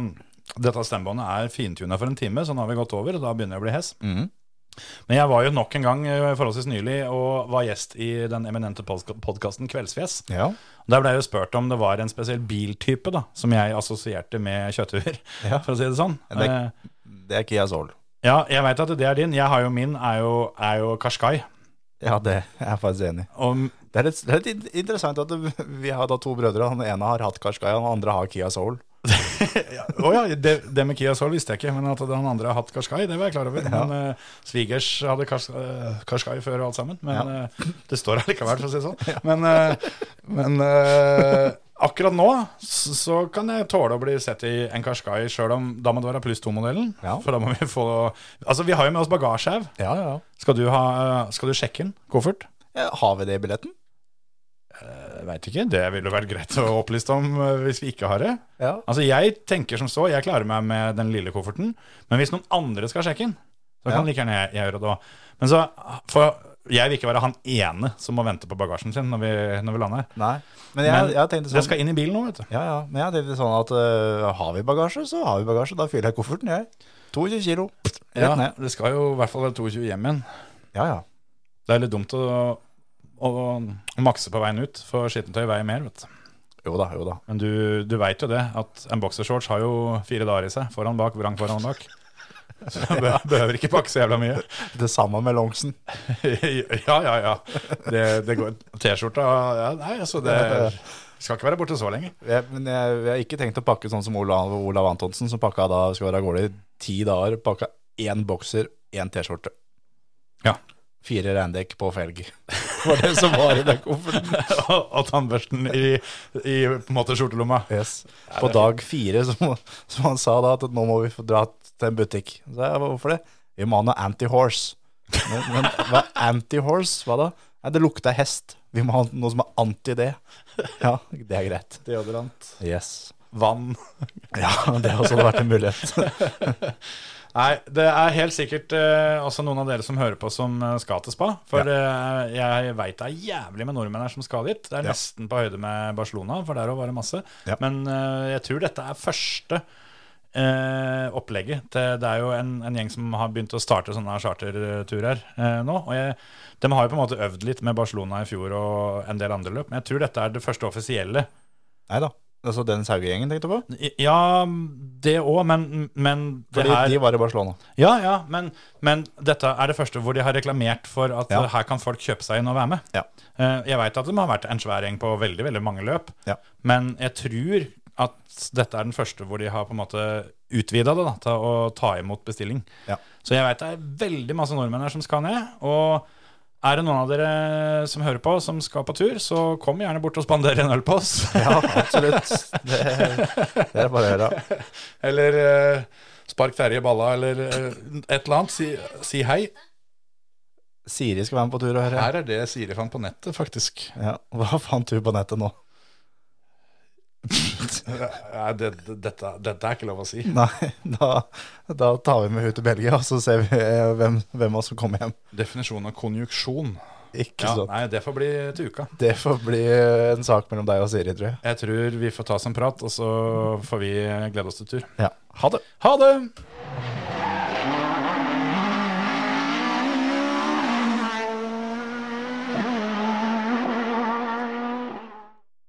Dette stemmebåndet er fintuna for en time, så nå har vi gått over, og da begynner jeg å bli hes. Mhm. Men jeg var jo nok en gang eh, forholdsvis nylig og var gjest i den eminente podkasten Kveldsfjes. Ja. Der ble jeg jo spurt om det var en spesiell biltype da, som jeg assosierte med kjøtthuer, *laughs* Ja. for å si det sånn. Ja, det- Eh, Det er Kia Soul. Ja, jeg veit at det er din. Jeg har jo min, er jo, er jo Qashqai. Ja, det er jeg faktisk enig i. Og Det er litt, det er litt in- interessant at det, vi har da to brødre, han ene har hatt Karskaya, han andre har Kia Soul. Å ja, det, det med Kia Soul visste jeg ikke, men at den andre har hatt Qashqai, det var jeg klar over. Men eh, svigers hadde Qashqai eh, Qashqai før *laughs* og alt sammen. Men eh, det står allikevel, for å si det sånn. Men, eh, men eh, Akkurat nå s- så kan jeg tåle å bli sett i en Qashqai, sjøl om da må det være pluss to-modellen. Ja. For da må vi få Altså, vi har jo med oss bagasje her. Ja, ja. Skal du, ha, eh, skal du sjekke den? Koffert? Eh, Har vi det i billetten? Jeg veit ikke. Det ville vært greit å opplyse om eh, hvis vi ikke har det. Ja. Altså, jeg tenker som så, jeg klarer meg med den lille kofferten, men hvis noen andre skal sjekke den, så kan Ja. like gjerne jeg, jeg gjøre det òg. Men så For jeg vil ikke være han ene som må vente på bagasjen sin når vi, når vi lander. Nei. Men jeg, Men jeg tenkte Det sånn skal inn i bilen nå, vet du. Ja, ja. Men jeg tenkte sånn at eh, har vi bagasje, så har vi bagasje. Da fyller jeg kofferten, jeg. 22 kilo. Rett Ja, ned. det skal jo i hvert fall være 22 hjem igjen. Ja, ja. Det er litt dumt å, å, å makse på veien ut, for skittentøy veier mer, vet du. Jo da, jo da. Men du, du veit jo det, at en boksershorts har jo fire dager i seg. Foran, bak, vrang foran, bak. *laughs* Så du bø- behøver ikke pakke så jævla mye. Det samme med longsen. *laughs* ja, ja, ja. Det, det går T-skjorta ja, Nei, altså, det skal ikke være borte så lenge. *laughs* Jeg, men jeg, jeg har ikke tenkt å pakke sånn som Olav, Olav Antonsen, som pakka da skal være av gårde i ti dager. Pakka én bokser, én T-skjorte. Ja. Fire regndekk på felg. Det *laughs* var det som var i den kofferten. og, og tannbørsten i, i på en måte skjortelomma. Yes. På dag fire, som, som han sa da, at nå må vi få dra til en butikk. Så jeg, hvorfor det? Vi må ha noe anti-horse. Men, men hva er anti-horse? Hva da? Nei, det lukter hest. Vi må ha noe som er anti det. Ja, det er greit. Deodorant. Yes. Vann. Ja, det har også vært en mulighet. Nei, det er helt sikkert eh, også noen av dere som hører på, som eh, skal til spa. For eh, jeg veit det er jævlig med nordmenn her som skal dit. Det er Ja. nesten på høyde med Barcelona, for der òg var det masse. Ja. Men eh, jeg tror dette er første eh, opplegget. til- det er jo en, en gjeng som har begynt å starte sånne charterturer eh, nå. Og jeg, de har jo på en måte øvd litt med Barcelona i fjor og en del andre løp, men jeg tror dette er det første offisielle. Nei da. Altså Dennis Hauge-gjengen tenkte du på? I- Ja, det òg, men, men det Fordi her de var i Barcelona. Ja, ja, men, men dette er det første hvor de har reklamert for at Ja. eh, her kan folk kjøpe seg inn og være med. Ja. Eh, Jeg veit at det må ha vært en svær gjeng på veldig veldig mange løp, Ja. men jeg tror at dette er den første hvor de har på en måte utvida det da, til å ta imot bestilling. Ja. Så jeg veit det er veldig masse nordmenn her som skal ned. og er det noen av dere som hører på, som skal på tur, så kom gjerne bort og spander en øl på oss. Ja, absolutt. Det, det er bare å gjøre. *laughs* Eller eh, spark Terje i balla, eller eh, et eller annet. Si, si hei. Siri skal være med på tur og høre. Her er det Siri fant på nettet, faktisk. Ja, Hva fant du på nettet nå? Nei, det, det, dette, dette er ikke lov å si. Nei, da, da tar vi med hun til Belgia, og så ser vi eh, hvem, hvem av oss som kommer hjem. Definisjonen av konjuksjon. Ikke Ja, sant. nei, det får bli til uka. Det får bli eh, en sak mellom deg og Siri, tror jeg. Jeg tror vi får ta oss en prat, og så får vi glede oss til tur. Ja. Ha det. Ha det!